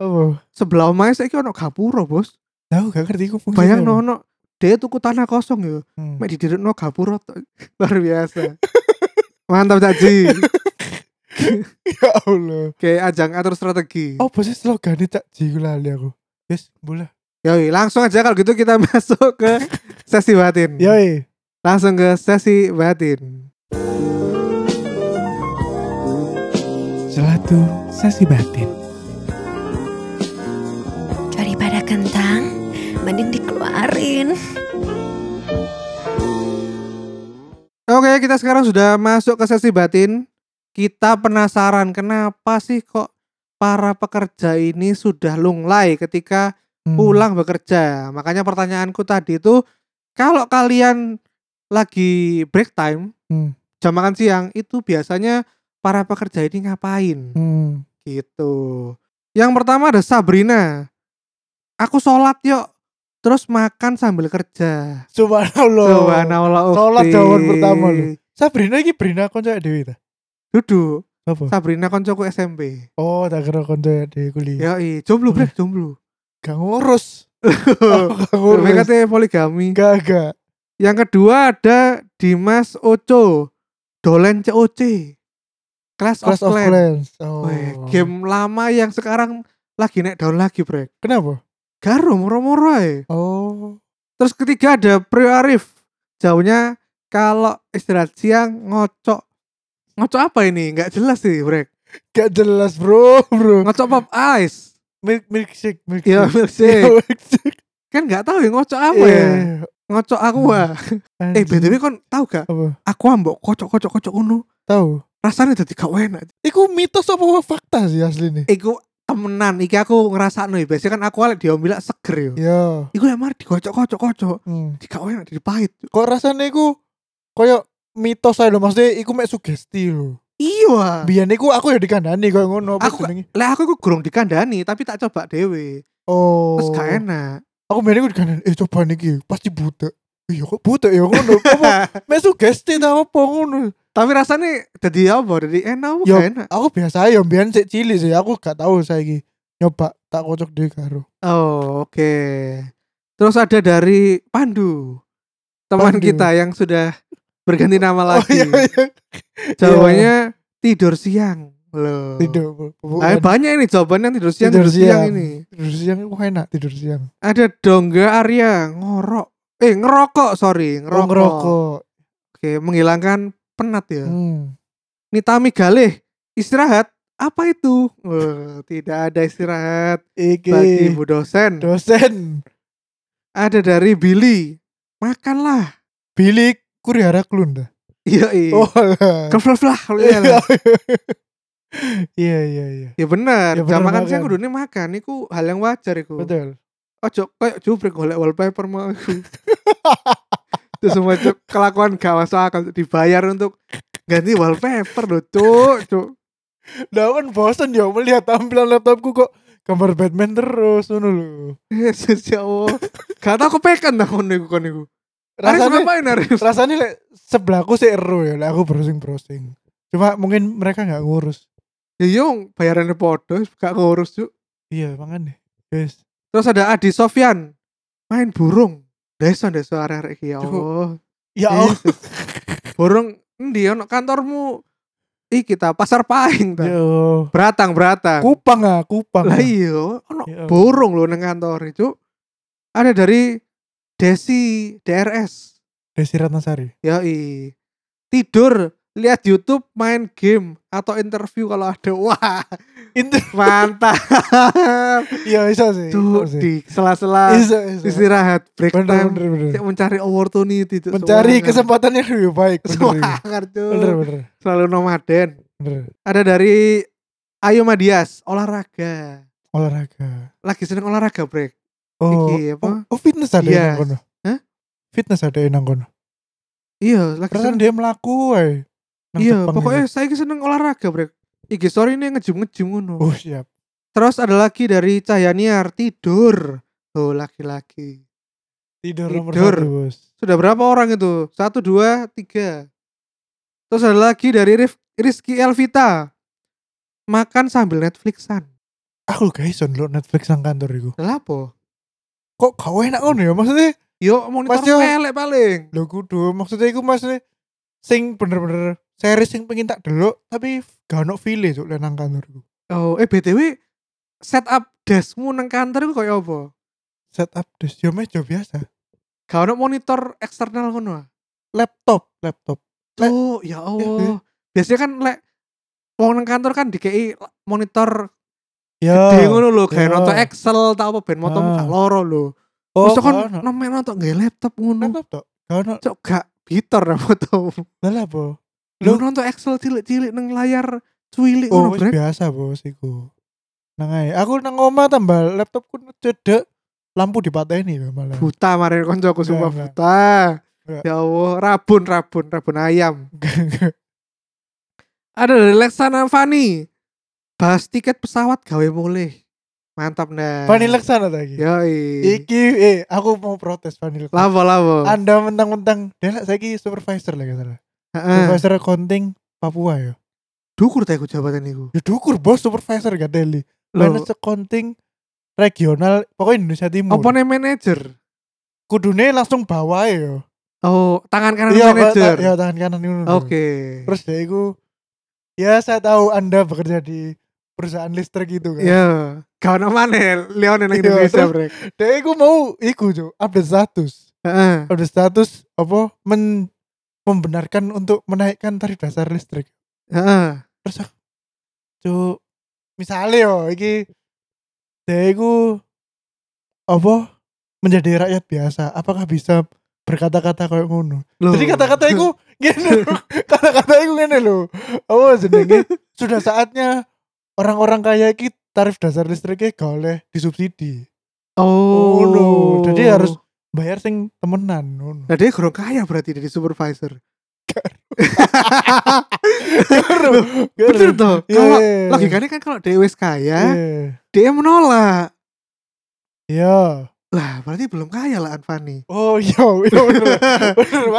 Speaker 2: Apa?
Speaker 1: sebelah omahe saiki ono gapura, Bos.
Speaker 2: Tahu gak ngerti ku fungsinya
Speaker 1: Bayang
Speaker 2: apa.
Speaker 1: ono dia tuku tanah kosong ya,
Speaker 2: Hmm.
Speaker 1: mek didirino gapura tok. [laughs] luar biasa. Mantap Takji.
Speaker 2: Ya Allah.
Speaker 1: Kayak ajang atur strategi.
Speaker 2: Oh, pasti slogane Cak Ji ku lali aku. Yes, boleh.
Speaker 1: Yoi, langsung aja kalau gitu kita [laughs] masuk ke sesi batin.
Speaker 2: Yoi.
Speaker 1: Langsung ke sesi batin.
Speaker 2: Selatu sesi batin.
Speaker 3: Daripada kentang, mending dikeluarin.
Speaker 1: Oke, kita sekarang sudah masuk ke sesi batin. Kita penasaran kenapa sih kok para pekerja ini sudah lunglai ketika
Speaker 2: Hmm.
Speaker 1: pulang bekerja. Makanya pertanyaanku tadi itu kalau kalian lagi break time,
Speaker 2: Hmm.
Speaker 1: jam makan siang itu biasanya para pekerja ini ngapain?
Speaker 2: Hmm.
Speaker 1: gitu. Yang pertama ada Sabrina. Aku sholat yuk, terus makan sambil kerja.
Speaker 2: Subhanallah.
Speaker 1: Subhanallah. ukti.
Speaker 2: sholat jawaban pertama lho. Sabrina iki Brina konco dhewe ta.
Speaker 1: Dudu,
Speaker 2: Apa?
Speaker 1: Sabrina koncoku SMP.
Speaker 2: Oh, tak kira konco dhewe
Speaker 1: Ya
Speaker 2: kuliah.
Speaker 1: jomblo brek,
Speaker 2: Hmm.
Speaker 1: jomblo.
Speaker 2: Gak [laughs] ngurus.
Speaker 1: Oh,
Speaker 2: Gak ngurus.
Speaker 1: katanya poligami.
Speaker 2: Gak gak.
Speaker 1: Yang kedua ada Dimas Oco. Dolen COC. Clash,
Speaker 2: Clash
Speaker 1: of
Speaker 2: of
Speaker 1: Clans.
Speaker 2: Clans. Oh.
Speaker 1: Weh, game lama yang sekarang lagi naik daun lagi, Brek.
Speaker 2: Kenapa?
Speaker 1: Garo moro-moro ae.
Speaker 2: Oh.
Speaker 1: Terus ketiga ada Prio Arif. Jauhnya kalau istirahat siang ngocok. Ngocok apa ini? Nggak jelas sih, Brek.
Speaker 2: Gak jelas, Bro, Bro.
Speaker 1: Ngocok pop ice.
Speaker 2: Milk milkshake, [laughs]
Speaker 1: Ya,
Speaker 2: milkshake.
Speaker 1: milkshake.
Speaker 2: milkshake.
Speaker 1: kan nggak tahu ya ngocok apa
Speaker 2: Iya. Hmm.
Speaker 1: ya. Ngocok aqua. Eh, BTW kon tahu gak?
Speaker 2: apa?
Speaker 1: Aqua mbok kocok-kocok-kocok ngono.
Speaker 2: Tahu.
Speaker 1: Rasanya jadi gak enak.
Speaker 2: Iku mitos apa fakta sih asline?
Speaker 1: Iku temenan, iki aku ngerasakno ya. Biasanya kan aku lek diombil seger yo.
Speaker 2: Ya.
Speaker 1: Iku yang mari digocok-kocok-kocok.
Speaker 2: Hmm.
Speaker 1: Jadi gak enak, jadi pahit.
Speaker 2: Kok rasanya iku koyo mitos ae lho maksudnya iku mek sugesti lho.
Speaker 1: Iya. ah.
Speaker 2: Biyen iku aku ya dikandani koyo ngono apa
Speaker 1: Aku-
Speaker 2: jenenge?
Speaker 1: Lah aku iku gorong dikandani, tapi tak coba dewe.
Speaker 2: Oh.
Speaker 1: Terus gak enak.
Speaker 2: Aku biyen iku dikandani, eh coba niki pasti butek. Iya kok butek
Speaker 1: [laughs]
Speaker 2: ya ngono. Apa mek sugesti ta apa ngono?
Speaker 1: Tapi rasanya jadi apa? Jadi enak apa
Speaker 2: Yo.
Speaker 1: gak enak?
Speaker 2: Aku biasa ya biyen sik cilik sih aku gak tahu saiki. Nyoba tak kocok dhewe karo.
Speaker 1: Oh, oke. Terus ada dari Pandu. Teman
Speaker 2: Pandu.
Speaker 1: kita yang sudah berganti nama
Speaker 2: Oh
Speaker 1: lagi.
Speaker 2: iya iya.
Speaker 1: Jawabannya tidur siang. Loh.
Speaker 2: Tidur. bu- bu-
Speaker 1: Ah, banyak ini jawaban yang tidur siang, tidur,
Speaker 2: Tidur
Speaker 1: siang.
Speaker 2: siang.
Speaker 1: ini.
Speaker 2: Tidur siang aku enak tidur siang.
Speaker 1: Ada Dongga Arya ngorok. Eh, ngerokok, sorry, ngerokok.
Speaker 2: Rokok. Rokok.
Speaker 1: Oke, menghilangkan penat ya.
Speaker 2: Hmm.
Speaker 1: Nitami Galih, istirahat. Apa itu? Wah, tidak ada istirahat bagi
Speaker 2: Iki
Speaker 1: Bu dosen.
Speaker 2: dosen.
Speaker 1: Ada dari Billy. Makanlah.
Speaker 2: Bilik Kurihara Klunda.
Speaker 1: Iya, iya.
Speaker 2: Oh lah. [laughs]
Speaker 1: Keflaflah.
Speaker 2: Iya
Speaker 1: Iya,
Speaker 2: iya iya. iya.
Speaker 1: ya bener.
Speaker 2: Ya
Speaker 1: Jam
Speaker 2: bener
Speaker 1: makan siang
Speaker 2: makan.
Speaker 1: kudune makan iku hal yang wajar iku.
Speaker 2: Betul.
Speaker 1: Ojo koyo jubrek golek wallpaper mau iku. Itu semua cuk kelakuan gak masuk akal dibayar untuk ganti wallpaper loh cuk, cuk.
Speaker 2: Nah kan bosen ya melihat tampilan laptopku kok gambar Batman terus ngono lho.
Speaker 1: Yesus ya Allah. Gak tau kepekan ta ngono iku kon iku. Arif
Speaker 2: Rasanya
Speaker 1: ngapain Arif?
Speaker 2: rasanya lek sebelahku sih ero ya lek aku browsing-browsing. Cuma mungkin mereka nggak ngurus.
Speaker 1: Ya yo bayarannya podo gak ngurus cuk.
Speaker 2: Iya, makanya. Yes.
Speaker 1: Terus ada Adi Sofyan. Main burung. Desa desa arek-arek iki ya
Speaker 2: Cuk.
Speaker 1: Allah. Iya,
Speaker 2: Ya Allah.
Speaker 1: Yesus. Borong endi ya, ono kantormu? Ih kita pasar paing
Speaker 2: Ya.
Speaker 1: ta.
Speaker 2: Yo.
Speaker 1: Beratang beratang.
Speaker 2: Kupang ah, kupang.
Speaker 1: Lah
Speaker 2: ah.
Speaker 1: iya, ono
Speaker 2: Ya Allah.
Speaker 1: borong lho nang kantor itu. Ada dari Desi DRS.
Speaker 2: Desi Ratnasari.
Speaker 1: Yoi. Tidur, lihat YouTube, main game atau interview kalau ada. [laughs] Wah,
Speaker 2: Itu [laughs]
Speaker 1: mantap.
Speaker 2: ya bisa sih.
Speaker 1: Tuh,
Speaker 2: bisa sih.
Speaker 1: di sela-sela
Speaker 2: Bisa, bisa.
Speaker 1: istirahat break
Speaker 2: Bener,
Speaker 1: time
Speaker 2: bener, bener.
Speaker 1: cek mencari opportunity itu.
Speaker 2: Mencari
Speaker 1: Semangat.
Speaker 2: kesempatan yang lebih baik. Bener,
Speaker 1: Semangat, Cuk.
Speaker 2: bener, bener,
Speaker 1: Selalu nomaden.
Speaker 2: bener.
Speaker 1: Ada dari Ayo Madias, olahraga.
Speaker 2: Olahraga.
Speaker 1: Lagi seneng olahraga, Brek.
Speaker 2: Oh,
Speaker 1: Iki apa?
Speaker 2: oh, oh, fitness ada
Speaker 1: Iya.
Speaker 2: yang kono.
Speaker 1: Hah?
Speaker 2: Fitness ada yang kono.
Speaker 1: Iya, lagi
Speaker 2: Perasaan
Speaker 1: seneng.
Speaker 2: dia melaku, woy. Nang
Speaker 1: Iya,
Speaker 2: Jepang ya.
Speaker 1: pokoknya
Speaker 2: itu.
Speaker 1: saya iki seneng olahraga, Brek. Iki story ini ngejum-ngejum ngono.
Speaker 2: Oh siap.
Speaker 1: Terus ada lagi dari Cahyaniar tidur. Tuh laki-laki.
Speaker 2: Tidur, nomor
Speaker 1: Tidur.
Speaker 2: satu bos.
Speaker 1: Sudah berapa orang itu? Satu, dua, tiga. Terus ada lagi dari Rif, Rizky Elvita. Makan sambil Netflixan.
Speaker 2: Aku guys, on lo Netflix nang kantor iku.
Speaker 1: Lah apa?
Speaker 2: Kok kau enak ngono ya maksudnya?
Speaker 1: Yo monitor
Speaker 2: Mas Yo.
Speaker 1: elek paling.
Speaker 2: Lho kudu maksudnya iku maksudnya sing bener-bener series sing pengen tak delok tapi gak ono feel cuk lek nang kantor iku.
Speaker 1: Oh, eh BTW setup deskmu nang kantor iku koyo apa?
Speaker 2: Setup desk yo meh yo biasa.
Speaker 1: Gak ono monitor eksternal ngono. ah?
Speaker 2: Laptop, laptop. Lek- Eh,
Speaker 1: Oh, ya Allah. Biasanya kan lek wong nang kantor kan dikei monitor
Speaker 2: Ya.
Speaker 1: gede ngono lho, kayak
Speaker 2: iya.
Speaker 1: nonton Excel tak apa ben moto
Speaker 2: Ah.
Speaker 1: muka loro lho.
Speaker 2: Oh,
Speaker 1: Wis
Speaker 2: gak
Speaker 1: kan
Speaker 2: ono.
Speaker 1: nemen nonton nggae laptop ngono.
Speaker 2: laptop tok. Gak ono.
Speaker 1: Cok gak bitor ra moto.
Speaker 2: Lah lah, po.
Speaker 1: Lho
Speaker 2: Lho.
Speaker 1: nonton Excel cilik-cilik nang layar cuilik
Speaker 2: Oh,
Speaker 1: ngono,
Speaker 2: wis
Speaker 1: Brek.
Speaker 2: biasa bos iku. Nang ae. Aku nang omah tambah laptopku cedek lampu dipateni ya malah. [laughs]
Speaker 1: Buta mare koncoku sumpah
Speaker 2: Enggak,
Speaker 1: buta.
Speaker 2: Enggak.
Speaker 1: Ya Allah, rabun rabun rabun ayam.
Speaker 2: Enggak,
Speaker 1: Ada dari Lexana Fani. Bahas tiket pesawat gawe mulih. Mantap nah.
Speaker 2: enggak. Fanny Laksana lagi.
Speaker 1: Yoi.
Speaker 2: Iki eh aku mau protes Fanny Laksana.
Speaker 1: Lapo lapo.
Speaker 2: Anda mentang-mentang Delak saya ki supervisor lah salah.
Speaker 1: Heeh.
Speaker 2: Supervisor accounting Papua ya.
Speaker 1: Dukur ta iku jabatan iku.
Speaker 2: Ya dukur bos supervisor gak Deli.
Speaker 1: Lho,
Speaker 2: Manage accounting regional pokoknya Indonesia Timur.
Speaker 1: apa nih manajer?
Speaker 2: kudune langsung bawa ya.
Speaker 1: Oh, tangan kanan
Speaker 2: Iya,
Speaker 1: manajer.
Speaker 2: ta- Iya tangan kanan ngono.
Speaker 1: Oke.
Speaker 2: Terus dia itu ya saya tahu Anda bekerja di perusahaan listrik itu kan.
Speaker 1: Ya, gak ono maneh Leon nang
Speaker 2: Iya,
Speaker 1: Indonesia,
Speaker 2: terus-
Speaker 1: Brek.
Speaker 2: Dia itu mau iku Cuk, update status.
Speaker 1: Heeh.
Speaker 2: Update status apa men membenarkan untuk menaikkan tarif dasar listrik.
Speaker 1: Heeh.
Speaker 2: terus aku cuk misalnya yo iki dia iku apa menjadi rakyat biasa apakah bisa berkata-kata kayak ngono
Speaker 1: Lho.
Speaker 2: jadi kata-kata itu
Speaker 1: [laughs]
Speaker 2: gini lho. kata-kata itu gini lho apa jenenge sudah saatnya orang-orang kaya iki tarif dasar listriknya gak oleh disubsidi
Speaker 1: Oh,
Speaker 2: Ngono. Jadi harus- bayar sing temenan ngono
Speaker 1: Nah, dia kurang kaya berarti dari
Speaker 2: [laughs]
Speaker 1: supervisor.
Speaker 2: Iya
Speaker 1: Bener toh. Kalau logikanya kan kalau dia wis kaya, dia menolak.
Speaker 2: ya
Speaker 1: Lah, berarti belum kaya lah Anfani.
Speaker 2: oh iya
Speaker 1: [laughs]
Speaker 2: iya bener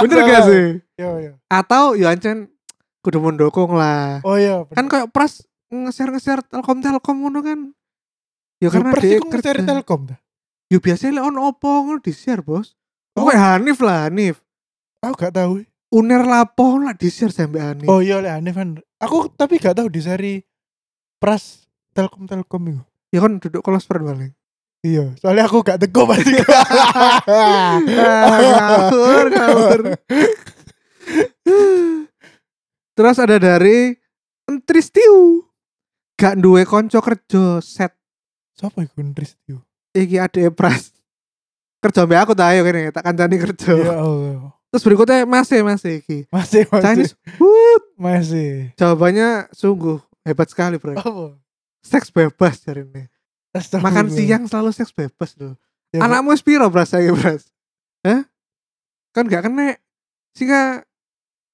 Speaker 1: Bener gak sih?
Speaker 2: iya iya
Speaker 1: Atau ya ancen kudu mendukung lah.
Speaker 2: Oh iya,
Speaker 1: Kan
Speaker 2: bener.
Speaker 1: kayak pras nge-share-nge-share Telkom-Telkom ngono kan. Ya
Speaker 2: Yo,
Speaker 1: karena
Speaker 2: Pers
Speaker 1: dia
Speaker 2: iku nge-share
Speaker 1: kerja.
Speaker 2: Telkom dah.
Speaker 1: Ya biasanya lek ono opo ngono di-share, Bos.
Speaker 2: Oh.
Speaker 1: Pokoknya Hanif lah, Hanif.
Speaker 2: Aku gak tahu.
Speaker 1: Uner lapo lah di-share sampe Hanif.
Speaker 2: Oh iya, oleh aneh kan. Aku tapi gak tahu di seri Pras Telkom Telkom itu.
Speaker 1: Ya kan duduk kelas perbaling.
Speaker 2: [laughs] Iya, soalnya aku gak teko pasti.
Speaker 1: [laughs] Ah, Ngawur, ngawur. [laughs] Terus ada dari Entristiu. Gak duwe konco kerja set
Speaker 2: Sopo iku Ndris itu?
Speaker 1: iki ade pras. Kerja mbak aku tayo kene tak kancani kerja.
Speaker 2: Ya Allah.
Speaker 1: Terus berikutnya masih masih E iki.
Speaker 2: Masih masih.
Speaker 1: Chinese food.
Speaker 2: Masih.
Speaker 1: Jawabannya sungguh hebat sekali, Bro.
Speaker 2: Apa?
Speaker 1: Seks bebas dari ini.
Speaker 2: Astagfirullah.
Speaker 1: Makan siang selalu seks bebas loh.
Speaker 2: Ya, Bu.
Speaker 1: Anakmu spiro bras saya bras? Hah? Kan gak kena. Singa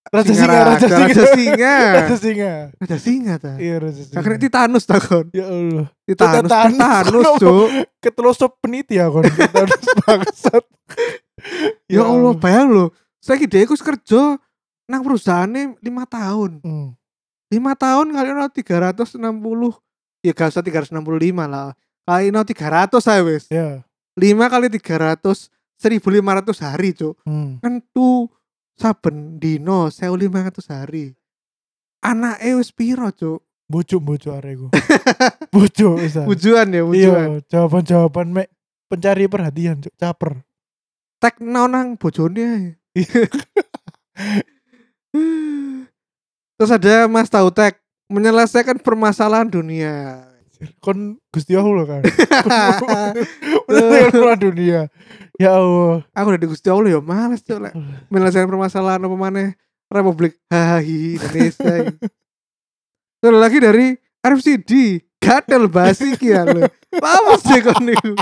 Speaker 2: Raja singa, raja
Speaker 1: raja, raja
Speaker 2: [laughs] singa.
Speaker 1: singa.
Speaker 2: Raja singa.
Speaker 1: Raja singa ta.
Speaker 2: Iya, raja
Speaker 1: Gak kena
Speaker 2: singa.
Speaker 1: Titanus ta kon.
Speaker 2: Ya Allah.
Speaker 1: Titanus,
Speaker 2: Titanus.
Speaker 1: Titanus,
Speaker 2: [laughs]
Speaker 1: Cuk.
Speaker 2: Ketelosop peniti ya kon. Ketelosop [laughs] bangsat.
Speaker 1: Ya Allah, bayang lho. Saiki dhek wis kerja nang perusahaannya 5 tahun.
Speaker 2: Hmm.
Speaker 1: 5 tahun kali ono 360. Ya gak usah 365 lah. Kali ono 300 ae wis.
Speaker 2: Ya.
Speaker 1: 5 kali 300 1500 hari, Cuk.
Speaker 2: Hmm.
Speaker 1: Tentu saben dino 1500 hari. Anake wis piro, Cuk?
Speaker 2: bucuk bucuk areku
Speaker 1: [laughs]
Speaker 2: bucuk bisa
Speaker 1: Wujuan ya, wujuan.
Speaker 2: iya jawaban jawaban mek pencari perhatian cuk caper
Speaker 1: tekno nang bojone ae. Terus ada Mas Tautek menyelesaikan permasalahan dunia.
Speaker 2: kon Gusti Allah loh
Speaker 1: [laughs]
Speaker 2: kan [laughs] Menyelesaikan perang dunia ya Allah
Speaker 1: Aku udah di Gusti Allah ya males tuh lek menyelesaikan permasalahan apa maneh Republik Hahi Indonesia. Terus lagi dari RFCD Gatel basi iki ya lho. Lawas sih kon niku.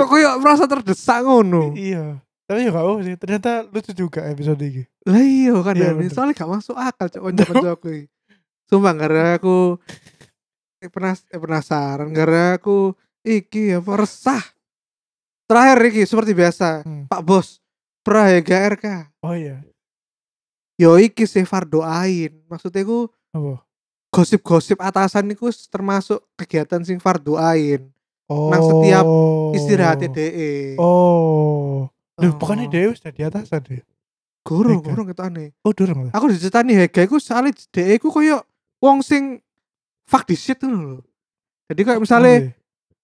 Speaker 1: Kok koyo merasa terdesak ngono.
Speaker 2: iya tapi ya gak apa sih ternyata lucu juga episode ini
Speaker 1: Lah iya kan
Speaker 2: Iya,
Speaker 1: Dani,
Speaker 2: bener.
Speaker 1: soalnya gak masuk akal cok kanca aku iki. Sumpah karena aku eh, penas eh, penasaran karena aku iki apa resah. Terakhir iki seperti biasa,
Speaker 2: Hmm.
Speaker 1: Pak Bos Prayoga RK.
Speaker 2: oh iya
Speaker 1: Yo iki sih doain. Maksudnya ku
Speaker 2: apa
Speaker 1: gosip-gosip atasan niku termasuk kegiatan sing far doain.
Speaker 2: oh
Speaker 1: Nang setiap Istirahatnya E. DE.
Speaker 2: oh Loh, bukannya dia sudah di atasan deh
Speaker 1: Gurung,
Speaker 2: Mega.
Speaker 1: gurung ketane.
Speaker 2: oh durung lah
Speaker 1: Aku diceritani Hega iku soalnya DE ku koyo wong sing fuck di shit ngono lho. Jadi kayak misalnya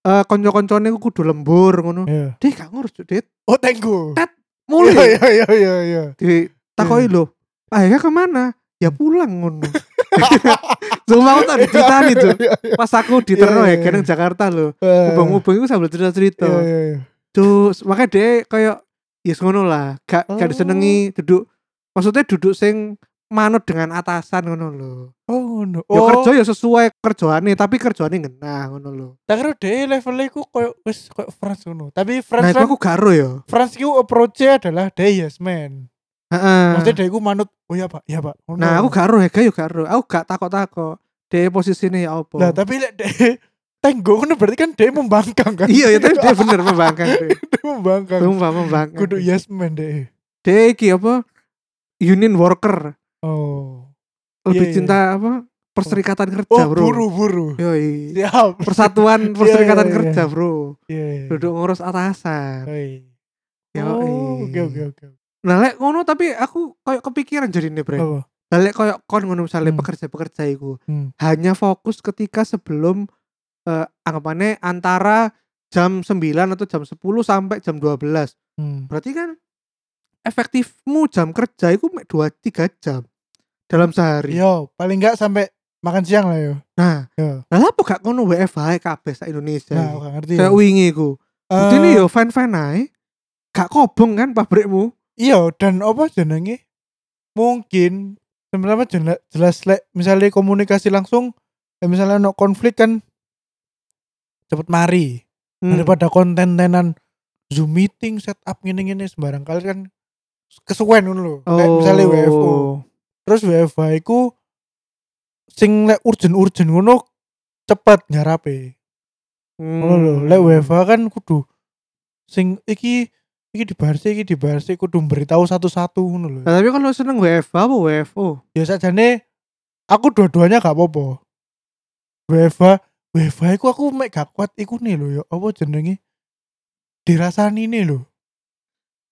Speaker 2: Oh,
Speaker 1: eh konco-koncone ku kudu lembur ngono.
Speaker 2: Iya.
Speaker 1: Dia gak ngurus Cuk, Dit.
Speaker 2: oh tenggo
Speaker 1: Tet, Mulai
Speaker 2: [laughs] iya iya iya iya
Speaker 1: ditakoi lho. Akhirnya kemana? Ya pulang ngono. [laughs] Cuma aku tak diceritani
Speaker 2: [laughs]
Speaker 1: tuh. Pas aku di Terno
Speaker 2: Iya, iya,
Speaker 1: Hega nang Jakarta lho. Mubeng-mubeng itu sambil cerita-cerita.
Speaker 2: iya iya iya
Speaker 1: Terus Gitu. makanya dia kayak ya yes, ngono lah, gak gak
Speaker 2: Oh.
Speaker 1: disenengi duduk. Maksudnya duduk sing manut dengan atasan ngono lho.
Speaker 2: oh ngono
Speaker 1: Ya
Speaker 2: oh
Speaker 1: kerja ya sesuai kerjaannya, tapi kerjaannya ngena ngono lho.
Speaker 2: tak kira dia levelnya ku koyo wis koyo France ngono
Speaker 1: Nah,
Speaker 2: tapi France
Speaker 1: itu
Speaker 2: kan
Speaker 1: aku garo ya.
Speaker 2: France ku approach-nya adalah dia yes man
Speaker 1: Heeh.
Speaker 2: maksudnya dia ku manut oh ya pak ya pak Ngono.
Speaker 1: Nah, aku garo ya, yo garo. Aku gak takok-takok. Dia posisinya ya apa?
Speaker 2: lah tapi lek dia [laughs] tenggo ngono berarti kan dia membangkang kan
Speaker 1: [laughs] iya, ya
Speaker 2: [laughs]
Speaker 1: tapi dia bener membangkang. dia.
Speaker 2: Dia membangkang
Speaker 1: Sumpah membangkang.
Speaker 2: kudu yes man deh
Speaker 1: Dia iki apa? Union worker.
Speaker 2: oh
Speaker 1: Lebih
Speaker 2: Iya, iya.
Speaker 1: cinta apa? Perserikatan kerja,
Speaker 2: oh
Speaker 1: Bro.
Speaker 2: buru
Speaker 1: [laughs]
Speaker 2: buru
Speaker 1: Yoi.
Speaker 2: siap
Speaker 1: persatuan perserikatan
Speaker 2: iya, iya.
Speaker 1: kerja bro
Speaker 2: [laughs] iya iya.
Speaker 1: duduk ngurus atasan
Speaker 2: Oi.
Speaker 1: Yoi.
Speaker 2: oh oke oke oke
Speaker 1: nah lek ngono tapi aku kayak kepikiran jadi nih bre
Speaker 2: Apa?
Speaker 1: Nah, lek kayak kon ngono misalnya
Speaker 2: Hmm.
Speaker 1: pekerja-pekerja iku
Speaker 2: Hmm.
Speaker 1: hanya fokus ketika sebelum eh, anggapannya antara jam 9 atau jam 10 sampai jam 12
Speaker 2: Hmm.
Speaker 1: berarti kan efektifmu jam kerja itu 2 3 jam dalam sehari
Speaker 2: Yo, paling enggak sampai makan siang lah yo.
Speaker 1: nah
Speaker 2: Yo.
Speaker 1: lah apa gak ngono WFH kabeh sak Indonesia
Speaker 2: Iya. Nah,
Speaker 1: iki?
Speaker 2: gak ngerti.
Speaker 1: saya wingi iku
Speaker 2: Eh,
Speaker 1: Bukti ini yo fan-fan ae. Gak kobong kan pabrikmu.
Speaker 2: Iya, dan apa jenenge? Mungkin sebenarnya jela- jelas lek misalnya komunikasi langsung eh, misalnya no konflik kan cepet mari
Speaker 1: Hmm.
Speaker 2: daripada konten-tenan Zoom meeting setup ngene-ngene sembarang kali kan kesuwen ngono lho. Lek
Speaker 1: Oh.
Speaker 2: misalnya WFO. Terus WFH iku sing lek urgent-urgent ngono cepet ngarape. Ngono lho,
Speaker 1: Hmm.
Speaker 2: lek WFA kan kudu sing iki iki dibarsi iki dibarsi kudu beritahu satu-satu ngono lho.
Speaker 1: Nah, tapi kalau seneng WFA apa WFO?
Speaker 2: Ya sajane aku dua-duanya gak apa-apa. WFA, WFA iku aku mek gak kuat iku nih lho ya apa jenenge? Dirasani nih lho.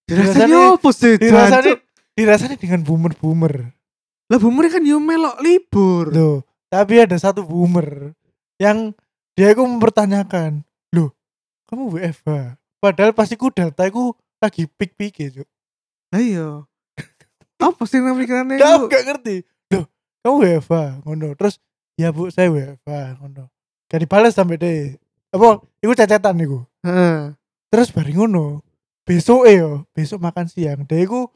Speaker 2: Dirasani-
Speaker 1: Dirasani opo sih?
Speaker 2: Dirasani
Speaker 1: Jancuk?
Speaker 2: dirasani dengan boomer-boomer.
Speaker 1: Lah bumur kan yo melok libur.
Speaker 2: Loh, tapi ada satu boomer yang dia itu mempertanyakan, "Loh, kamu WFH?" Padahal pasti ku data iku lagi pik-pik ya, Cuk.
Speaker 1: Lah iya. Apa sih nang pikirane
Speaker 2: Dah,
Speaker 1: lu?
Speaker 2: aku gak ngerti. Loh, kamu WFH ngono. Terus, "Ya, Bu, saya WFH ngono." Gak dibales sampai deh. Apa iku cacatan iku.
Speaker 1: Heeh.
Speaker 2: Terus bari ngono. Besok eh yo, besok makan siang. Dia iku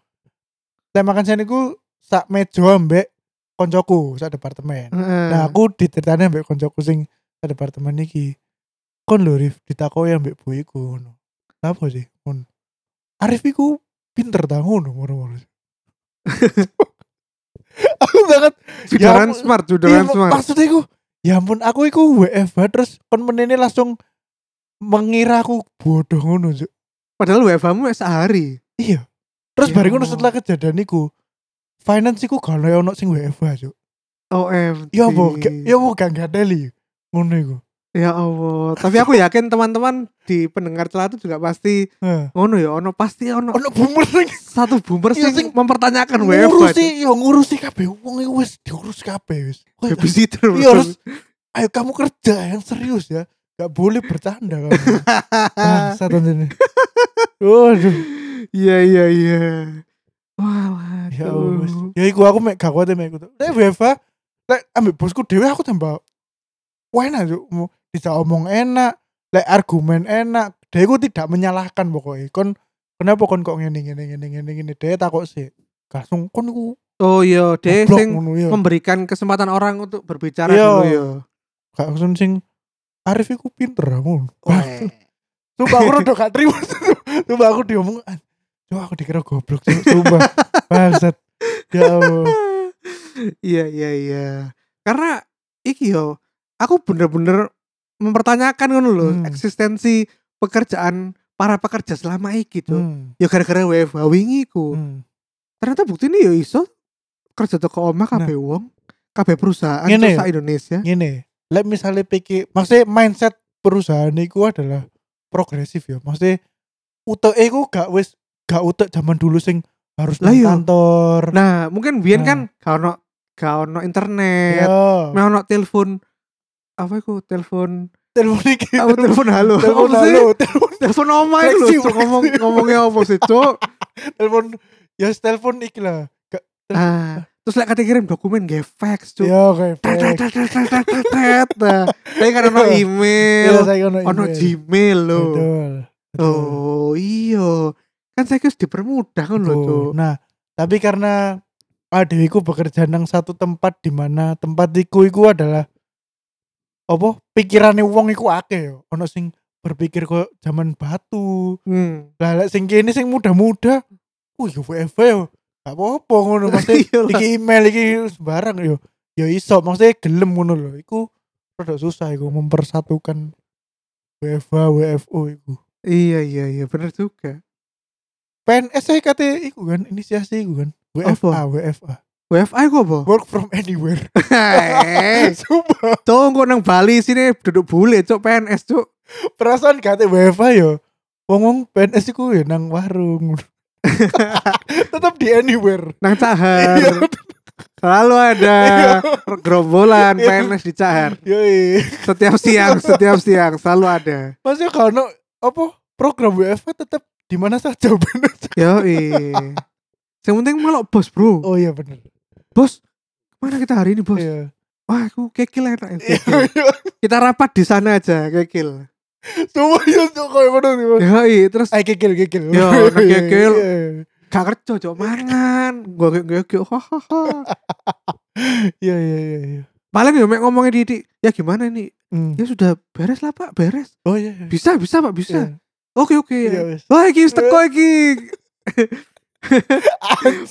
Speaker 2: saya makan siang iku sak meja ambek koncoku sak departemen.
Speaker 1: Heeh.
Speaker 2: Nah aku diteritanya ambek koncoku sing sak departemen iki. Kon lho Rif ditakoi ambek bu iku ngono. Apa sih? Kon. Arif iku pinter ta ngono ngono. [laughs] aku banget
Speaker 1: Judaran
Speaker 2: ya,
Speaker 1: smart, judaran
Speaker 2: iya,
Speaker 1: smart.
Speaker 2: maksudnya iku ya ampun aku iku WFH terus kon menene langsung mengira aku bodoh ngono Cuk.
Speaker 1: Padahal WFA mu sehari.
Speaker 2: Iya.
Speaker 1: Ya
Speaker 2: Terus bareng ngono
Speaker 1: Allah.
Speaker 2: setelah kejadian iku finance iku gak ono ono sing WFH Cuk.
Speaker 1: OMG.
Speaker 2: Ya apa? ga- Ya apa gak ngadeli ngono iku.
Speaker 1: Ya Allah. Tapi aku yakin teman-teman di pendengar celah itu juga pasti
Speaker 2: Heeh.
Speaker 1: ngono ya, ono pasti ono
Speaker 2: ono bumerang
Speaker 1: satu boomer sing,
Speaker 2: Iya, sing
Speaker 1: mempertanyakan WFA.
Speaker 2: ngurusi ya ngurusi kabeh wong iku wis diurus kabeh wis Wah,
Speaker 1: babysitter
Speaker 2: iya, harus ayo kamu kerja yang serius ya gak boleh bercanda kamu Ah. bangsat ini waduh
Speaker 1: iya iya iya
Speaker 2: Ya Allah, Mas. Ya iku aku mek gak kuat mek iku. tuh. Lek WFA, lek ambek bosku dhewe aku tambah enak Cuk. Mau bisa omong enak, lek argumen enak. Dia iku tidak menyalahkan pokoknya. Kon kenapa kon kok ngene ngene ngene ngene ngene dia takok sih. Langsung kon iku
Speaker 1: oh iya deh
Speaker 2: goblok
Speaker 1: sing
Speaker 2: ngono ya.
Speaker 1: memberikan kesempatan orang untuk berbicara
Speaker 2: Iya.
Speaker 1: dulu ya
Speaker 2: Gak langsung sing Arif iku pinter
Speaker 1: Oh.
Speaker 2: aku.
Speaker 1: Weh.
Speaker 2: Sumpah aku rada gak terima. [laughs] Sumpah aku diomong. "An, Cuk aku dikira goblok Cuk.
Speaker 1: [laughs]
Speaker 2: Sumpah. Bangsat. Ya Allah.
Speaker 1: [laughs] iya iya iya karena iki yo aku bener-bener mempertanyakan ngono loh
Speaker 2: Hmm.
Speaker 1: eksistensi pekerjaan para pekerja selama iki tuh
Speaker 2: Hmm.
Speaker 1: ya gara-gara WFH wingi ku
Speaker 2: Hmm.
Speaker 1: ternyata bukti ini ya iso kerja toko omah kabeh wong kabeh perusahaan
Speaker 2: Nah. Ngene
Speaker 1: terus
Speaker 2: ya?
Speaker 1: sak Indonesia
Speaker 2: gini let misalnya pikir maksudnya mindset perusahaan itu adalah progresif ya maksudnya utek itu gak wis gak utek zaman dulu sing harus
Speaker 1: Lah
Speaker 2: nang
Speaker 1: iya.
Speaker 2: kantor
Speaker 1: nah mungkin biyen
Speaker 2: Nah.
Speaker 1: kan gak ono gak ono internet
Speaker 2: ya
Speaker 1: gak ono telepon apa iku
Speaker 2: [laughs]
Speaker 1: telepon
Speaker 2: telepon iki
Speaker 1: apa telepon halo
Speaker 2: telepon
Speaker 1: Apa sih?
Speaker 2: halo telepon
Speaker 1: telepon omah iku lho
Speaker 2: Flexi,
Speaker 1: Cuk.
Speaker 2: flexi.
Speaker 1: ngomong ngomongnya apa sih
Speaker 2: [laughs]
Speaker 1: cuk
Speaker 2: telepon ya telepon iki lah Gak-
Speaker 1: Nah, terus lek kate kirim dokumen nge fax cuk.
Speaker 2: ya kayak
Speaker 1: Tet, tet,
Speaker 2: fake.
Speaker 1: tet, tet, tet, tet, tet. Nah, tapi kan ono
Speaker 2: Iya. Iya,
Speaker 1: email,
Speaker 2: saya ono
Speaker 1: ono
Speaker 2: email.
Speaker 1: Gmail lho.
Speaker 2: Betul. Betul.
Speaker 1: Oh, iya. Kan saya harus dipermudah kan lho
Speaker 2: Betul.
Speaker 1: cuk.
Speaker 2: Nah, tapi karena adikku bekerja nang satu tempat di mana tempat iku iku adalah apa pikirane wong iku akeh yo. Ono sing berpikir kok zaman batu.
Speaker 1: Hmm.
Speaker 2: Lah lek sing kene sing muda-muda, oh yo WFH yo. Gak apa-apa
Speaker 1: [laughs]
Speaker 2: ngono mesti
Speaker 1: Iya lah.
Speaker 2: iki email iki sembarang yo. Yo iso maksudnya gelem ngono lho. Iku rada susah iku mempersatukan WFH WFO iku.
Speaker 1: Iya iya iya bener juga.
Speaker 2: PNS saya kate iku kan inisiasi iku kan. WFA WFA.
Speaker 1: WFI kok
Speaker 2: [laughs]
Speaker 1: apa?
Speaker 2: work from anywhere. [laughs]
Speaker 1: Hei,
Speaker 2: Eh, Sumpah.
Speaker 1: Tunggu nang Bali sini duduk bule cuk PNS cuk.
Speaker 2: Perasaan kate WFA yo. Wong wong PNS iku yo nang [laughs] warung. Tetap di anywhere.
Speaker 1: Nang
Speaker 2: Iya,
Speaker 1: Cahar. Selalu ada gerombolan
Speaker 2: Iya.
Speaker 1: PNS di Cahar.
Speaker 2: Yoi.
Speaker 1: Setiap siang, setiap siang selalu ada.
Speaker 2: Masih kalau apa program WFA tetap di mana saja [laughs] bener.
Speaker 1: Yo Yang penting malah bos bro.
Speaker 2: Oh iya bener.
Speaker 1: Bos, mana kita hari ini bos?
Speaker 2: Iya.
Speaker 1: Wah, aku kekil enak. ya,
Speaker 2: Iya,
Speaker 1: kekil.
Speaker 2: iya.
Speaker 1: Kita rapat di sana aja kekil.
Speaker 2: Sumpah yo tuh koyo ngono. Bos.
Speaker 1: Yo terus
Speaker 2: Ay kikil kikil.
Speaker 1: Yo,
Speaker 2: Iya,
Speaker 1: nak kikil.
Speaker 2: iya.
Speaker 1: gak kerja cok mangan. Gua gak gak hahaha.
Speaker 2: Iya iya iya iya.
Speaker 1: Paling yo mek ngomongnya Didi, ya gimana nih?
Speaker 2: Hmm.
Speaker 1: Ya sudah beres lah Pak, beres.
Speaker 2: Oh iya. iya.
Speaker 1: Bisa, bisa Pak, bisa. Oke, ya.
Speaker 2: Iya,
Speaker 1: oke.
Speaker 2: wes.
Speaker 1: Wah, iki wis teko
Speaker 2: [laughs]
Speaker 1: iki.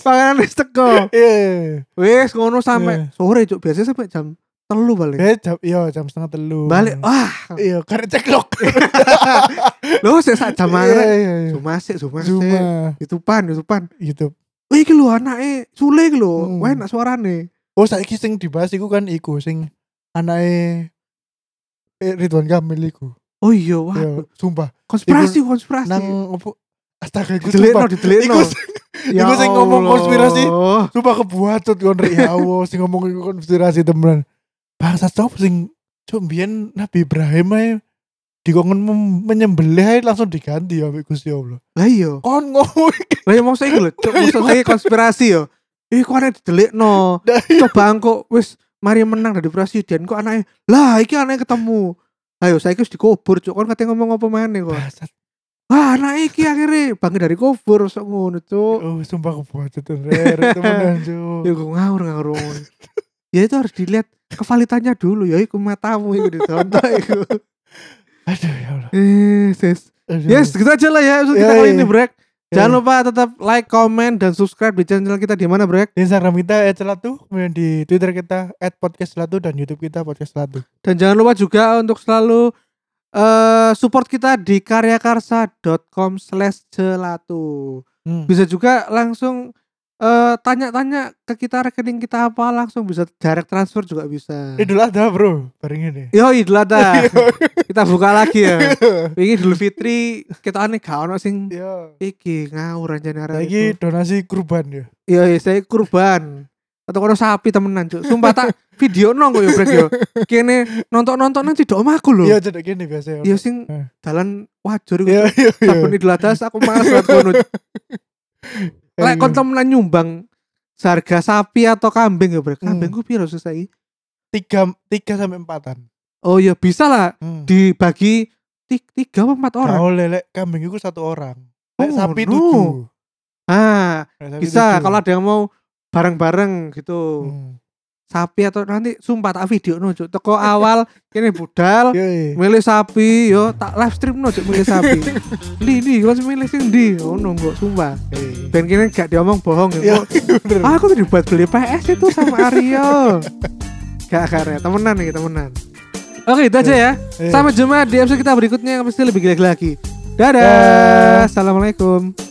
Speaker 1: Panganan wis teko.
Speaker 2: Iya. iya.
Speaker 1: Wis ngono sampai
Speaker 2: Iya.
Speaker 1: sore cok, biasanya sampai jam telu balik.
Speaker 2: Eh, jam iya jam setengah telu.
Speaker 1: Balik, oh. wah,
Speaker 2: Iya, karena
Speaker 1: [laughs]
Speaker 2: ceklok.
Speaker 1: Loh, sik sak jam
Speaker 2: Iya,
Speaker 1: mangan.
Speaker 2: iya, gitu. iya.
Speaker 1: Cuma sik, cuma
Speaker 2: Zuma
Speaker 1: sik. Ditupan, ditupan.
Speaker 2: YouTube.
Speaker 1: Wih, iki lho anake Sule iki lho.
Speaker 2: Hmm.
Speaker 1: Wah, enak suarane.
Speaker 2: Oh, saiki sing dibahas iku kan iku sing anake eh, Ridwan Kamil iku.
Speaker 1: Oh iya,
Speaker 2: Ya,
Speaker 1: wah.
Speaker 2: sumpah.
Speaker 1: Konspirasi, konspirasi.
Speaker 2: Nang opo astaga iku
Speaker 1: didelekno,
Speaker 2: sumpah.
Speaker 1: didelekno.
Speaker 2: Iku sing-
Speaker 1: Ya
Speaker 2: iku sing ngomong konspirasi. Sumpah kebuatut kon Rik. ya Allah sing ngomong iku konspirasi temenan. Bangsa sop sing cuk mbiyen Nabi Ibrahim ae dikongen mem- menyembelih ae langsung diganti ya ambek Gusti Allah.
Speaker 1: Lah iya.
Speaker 2: Kon ngomong iki
Speaker 1: Lah iya maksud iku lho, cuk, maksud Nah, iya. saya konspirasi yo. Ih, kok anake didelekno.
Speaker 2: dari
Speaker 1: Coba engko wis mari menang dari presiden kok anake. Lah, iki anake ketemu. Ayo, saya wis dikubur, cuk. Kon kate ngomong apa maneh kok.
Speaker 2: Bangsat.
Speaker 1: Wah, anake iki akhirnya bangkit dari kubur sok ngono, cuk.
Speaker 2: Oh, sumpah kebuatut Rik [laughs] temenan cuk.
Speaker 1: ya gue ngawur ngawur ngomong. ya itu harus dilihat kevalitannya dulu ya iku matamu iku ditonton iku
Speaker 2: Aduh ya Allah.
Speaker 1: Eh, sis.
Speaker 2: Aduh.
Speaker 1: yes gitu aja lah ya episode kita
Speaker 2: Ya,
Speaker 1: kali
Speaker 2: ya.
Speaker 1: ini brek
Speaker 2: Ya.
Speaker 1: jangan lupa tetap like comment dan subscribe di channel kita di mana brek
Speaker 2: Di Instagram kita @celatu, kemudian di Twitter kita @podcastcelatu dan YouTube kita podcastcelatu.
Speaker 1: dan jangan lupa juga untuk selalu eh support kita di karyakarsa.com slash jelatu
Speaker 2: Hmm.
Speaker 1: bisa juga langsung eh, tanya-tanya ke kita rekening kita apa langsung bisa direct transfer juga bisa
Speaker 2: Idul Adha, Bro. Bareng [laughs] ini.
Speaker 1: Yo Idul Adha. kita buka lagi ya. Wingi Idul Fitri kita aneh gak ono sing
Speaker 2: Iya.
Speaker 1: iki ngawur aja nara.
Speaker 2: Lagi
Speaker 1: Iki
Speaker 2: donasi kurban ya.
Speaker 1: yo saya kurban. Atau kono sapi temenan cuk. Sumpah tak video nong kok yo brek yo. Kene nonton-nonton nang cedok omahku lho.
Speaker 2: Iya, cedak gini biasa
Speaker 1: Yo
Speaker 2: ya.
Speaker 1: sing
Speaker 2: Eh.
Speaker 1: dalan wajur iku.
Speaker 2: Iya, iya, iya. [laughs] Iya.
Speaker 1: Saben Idul Adha aku males banget kono. Lek kon temenan nyumbang seharga sapi atau kambing ya bro kambing
Speaker 2: Hmm.
Speaker 1: ku piro sih saiki?
Speaker 2: tiga tiga sampai empatan
Speaker 1: oh ya bisa lah
Speaker 2: hmm.
Speaker 1: dibagi ti- tiga apa empat orang
Speaker 2: Gak oleh lek kambing itu satu orang
Speaker 1: Oh,
Speaker 2: lek sapi
Speaker 1: no.
Speaker 2: tujuh
Speaker 1: ah
Speaker 2: Lek sapi
Speaker 1: bisa
Speaker 2: tujuh.
Speaker 1: kalau ada yang mau bareng-bareng gitu
Speaker 2: Hmm.
Speaker 1: sapi atau nanti sumpah tak video no Cuk.
Speaker 2: [laughs]
Speaker 1: teko awal kene budal
Speaker 2: Yoi.
Speaker 1: milih sapi yo tak live stream no Cuk, milih
Speaker 2: [laughs]
Speaker 1: sapi li li harus milih sing ndi ngono nggak sumpah
Speaker 2: Yoi.
Speaker 1: ben kene gak diomong bohong ya
Speaker 2: Yoi, bener.
Speaker 1: Ah, aku tadi buat beli PS itu sama Aryo. Gak karya, temenan nih, temenan. Oke, itu aja ya.
Speaker 2: Iya.
Speaker 1: Sampai jumpa di episode kita berikutnya yang pasti lebih gila lagi. Dadah.
Speaker 2: Dah.
Speaker 1: Assalamualaikum.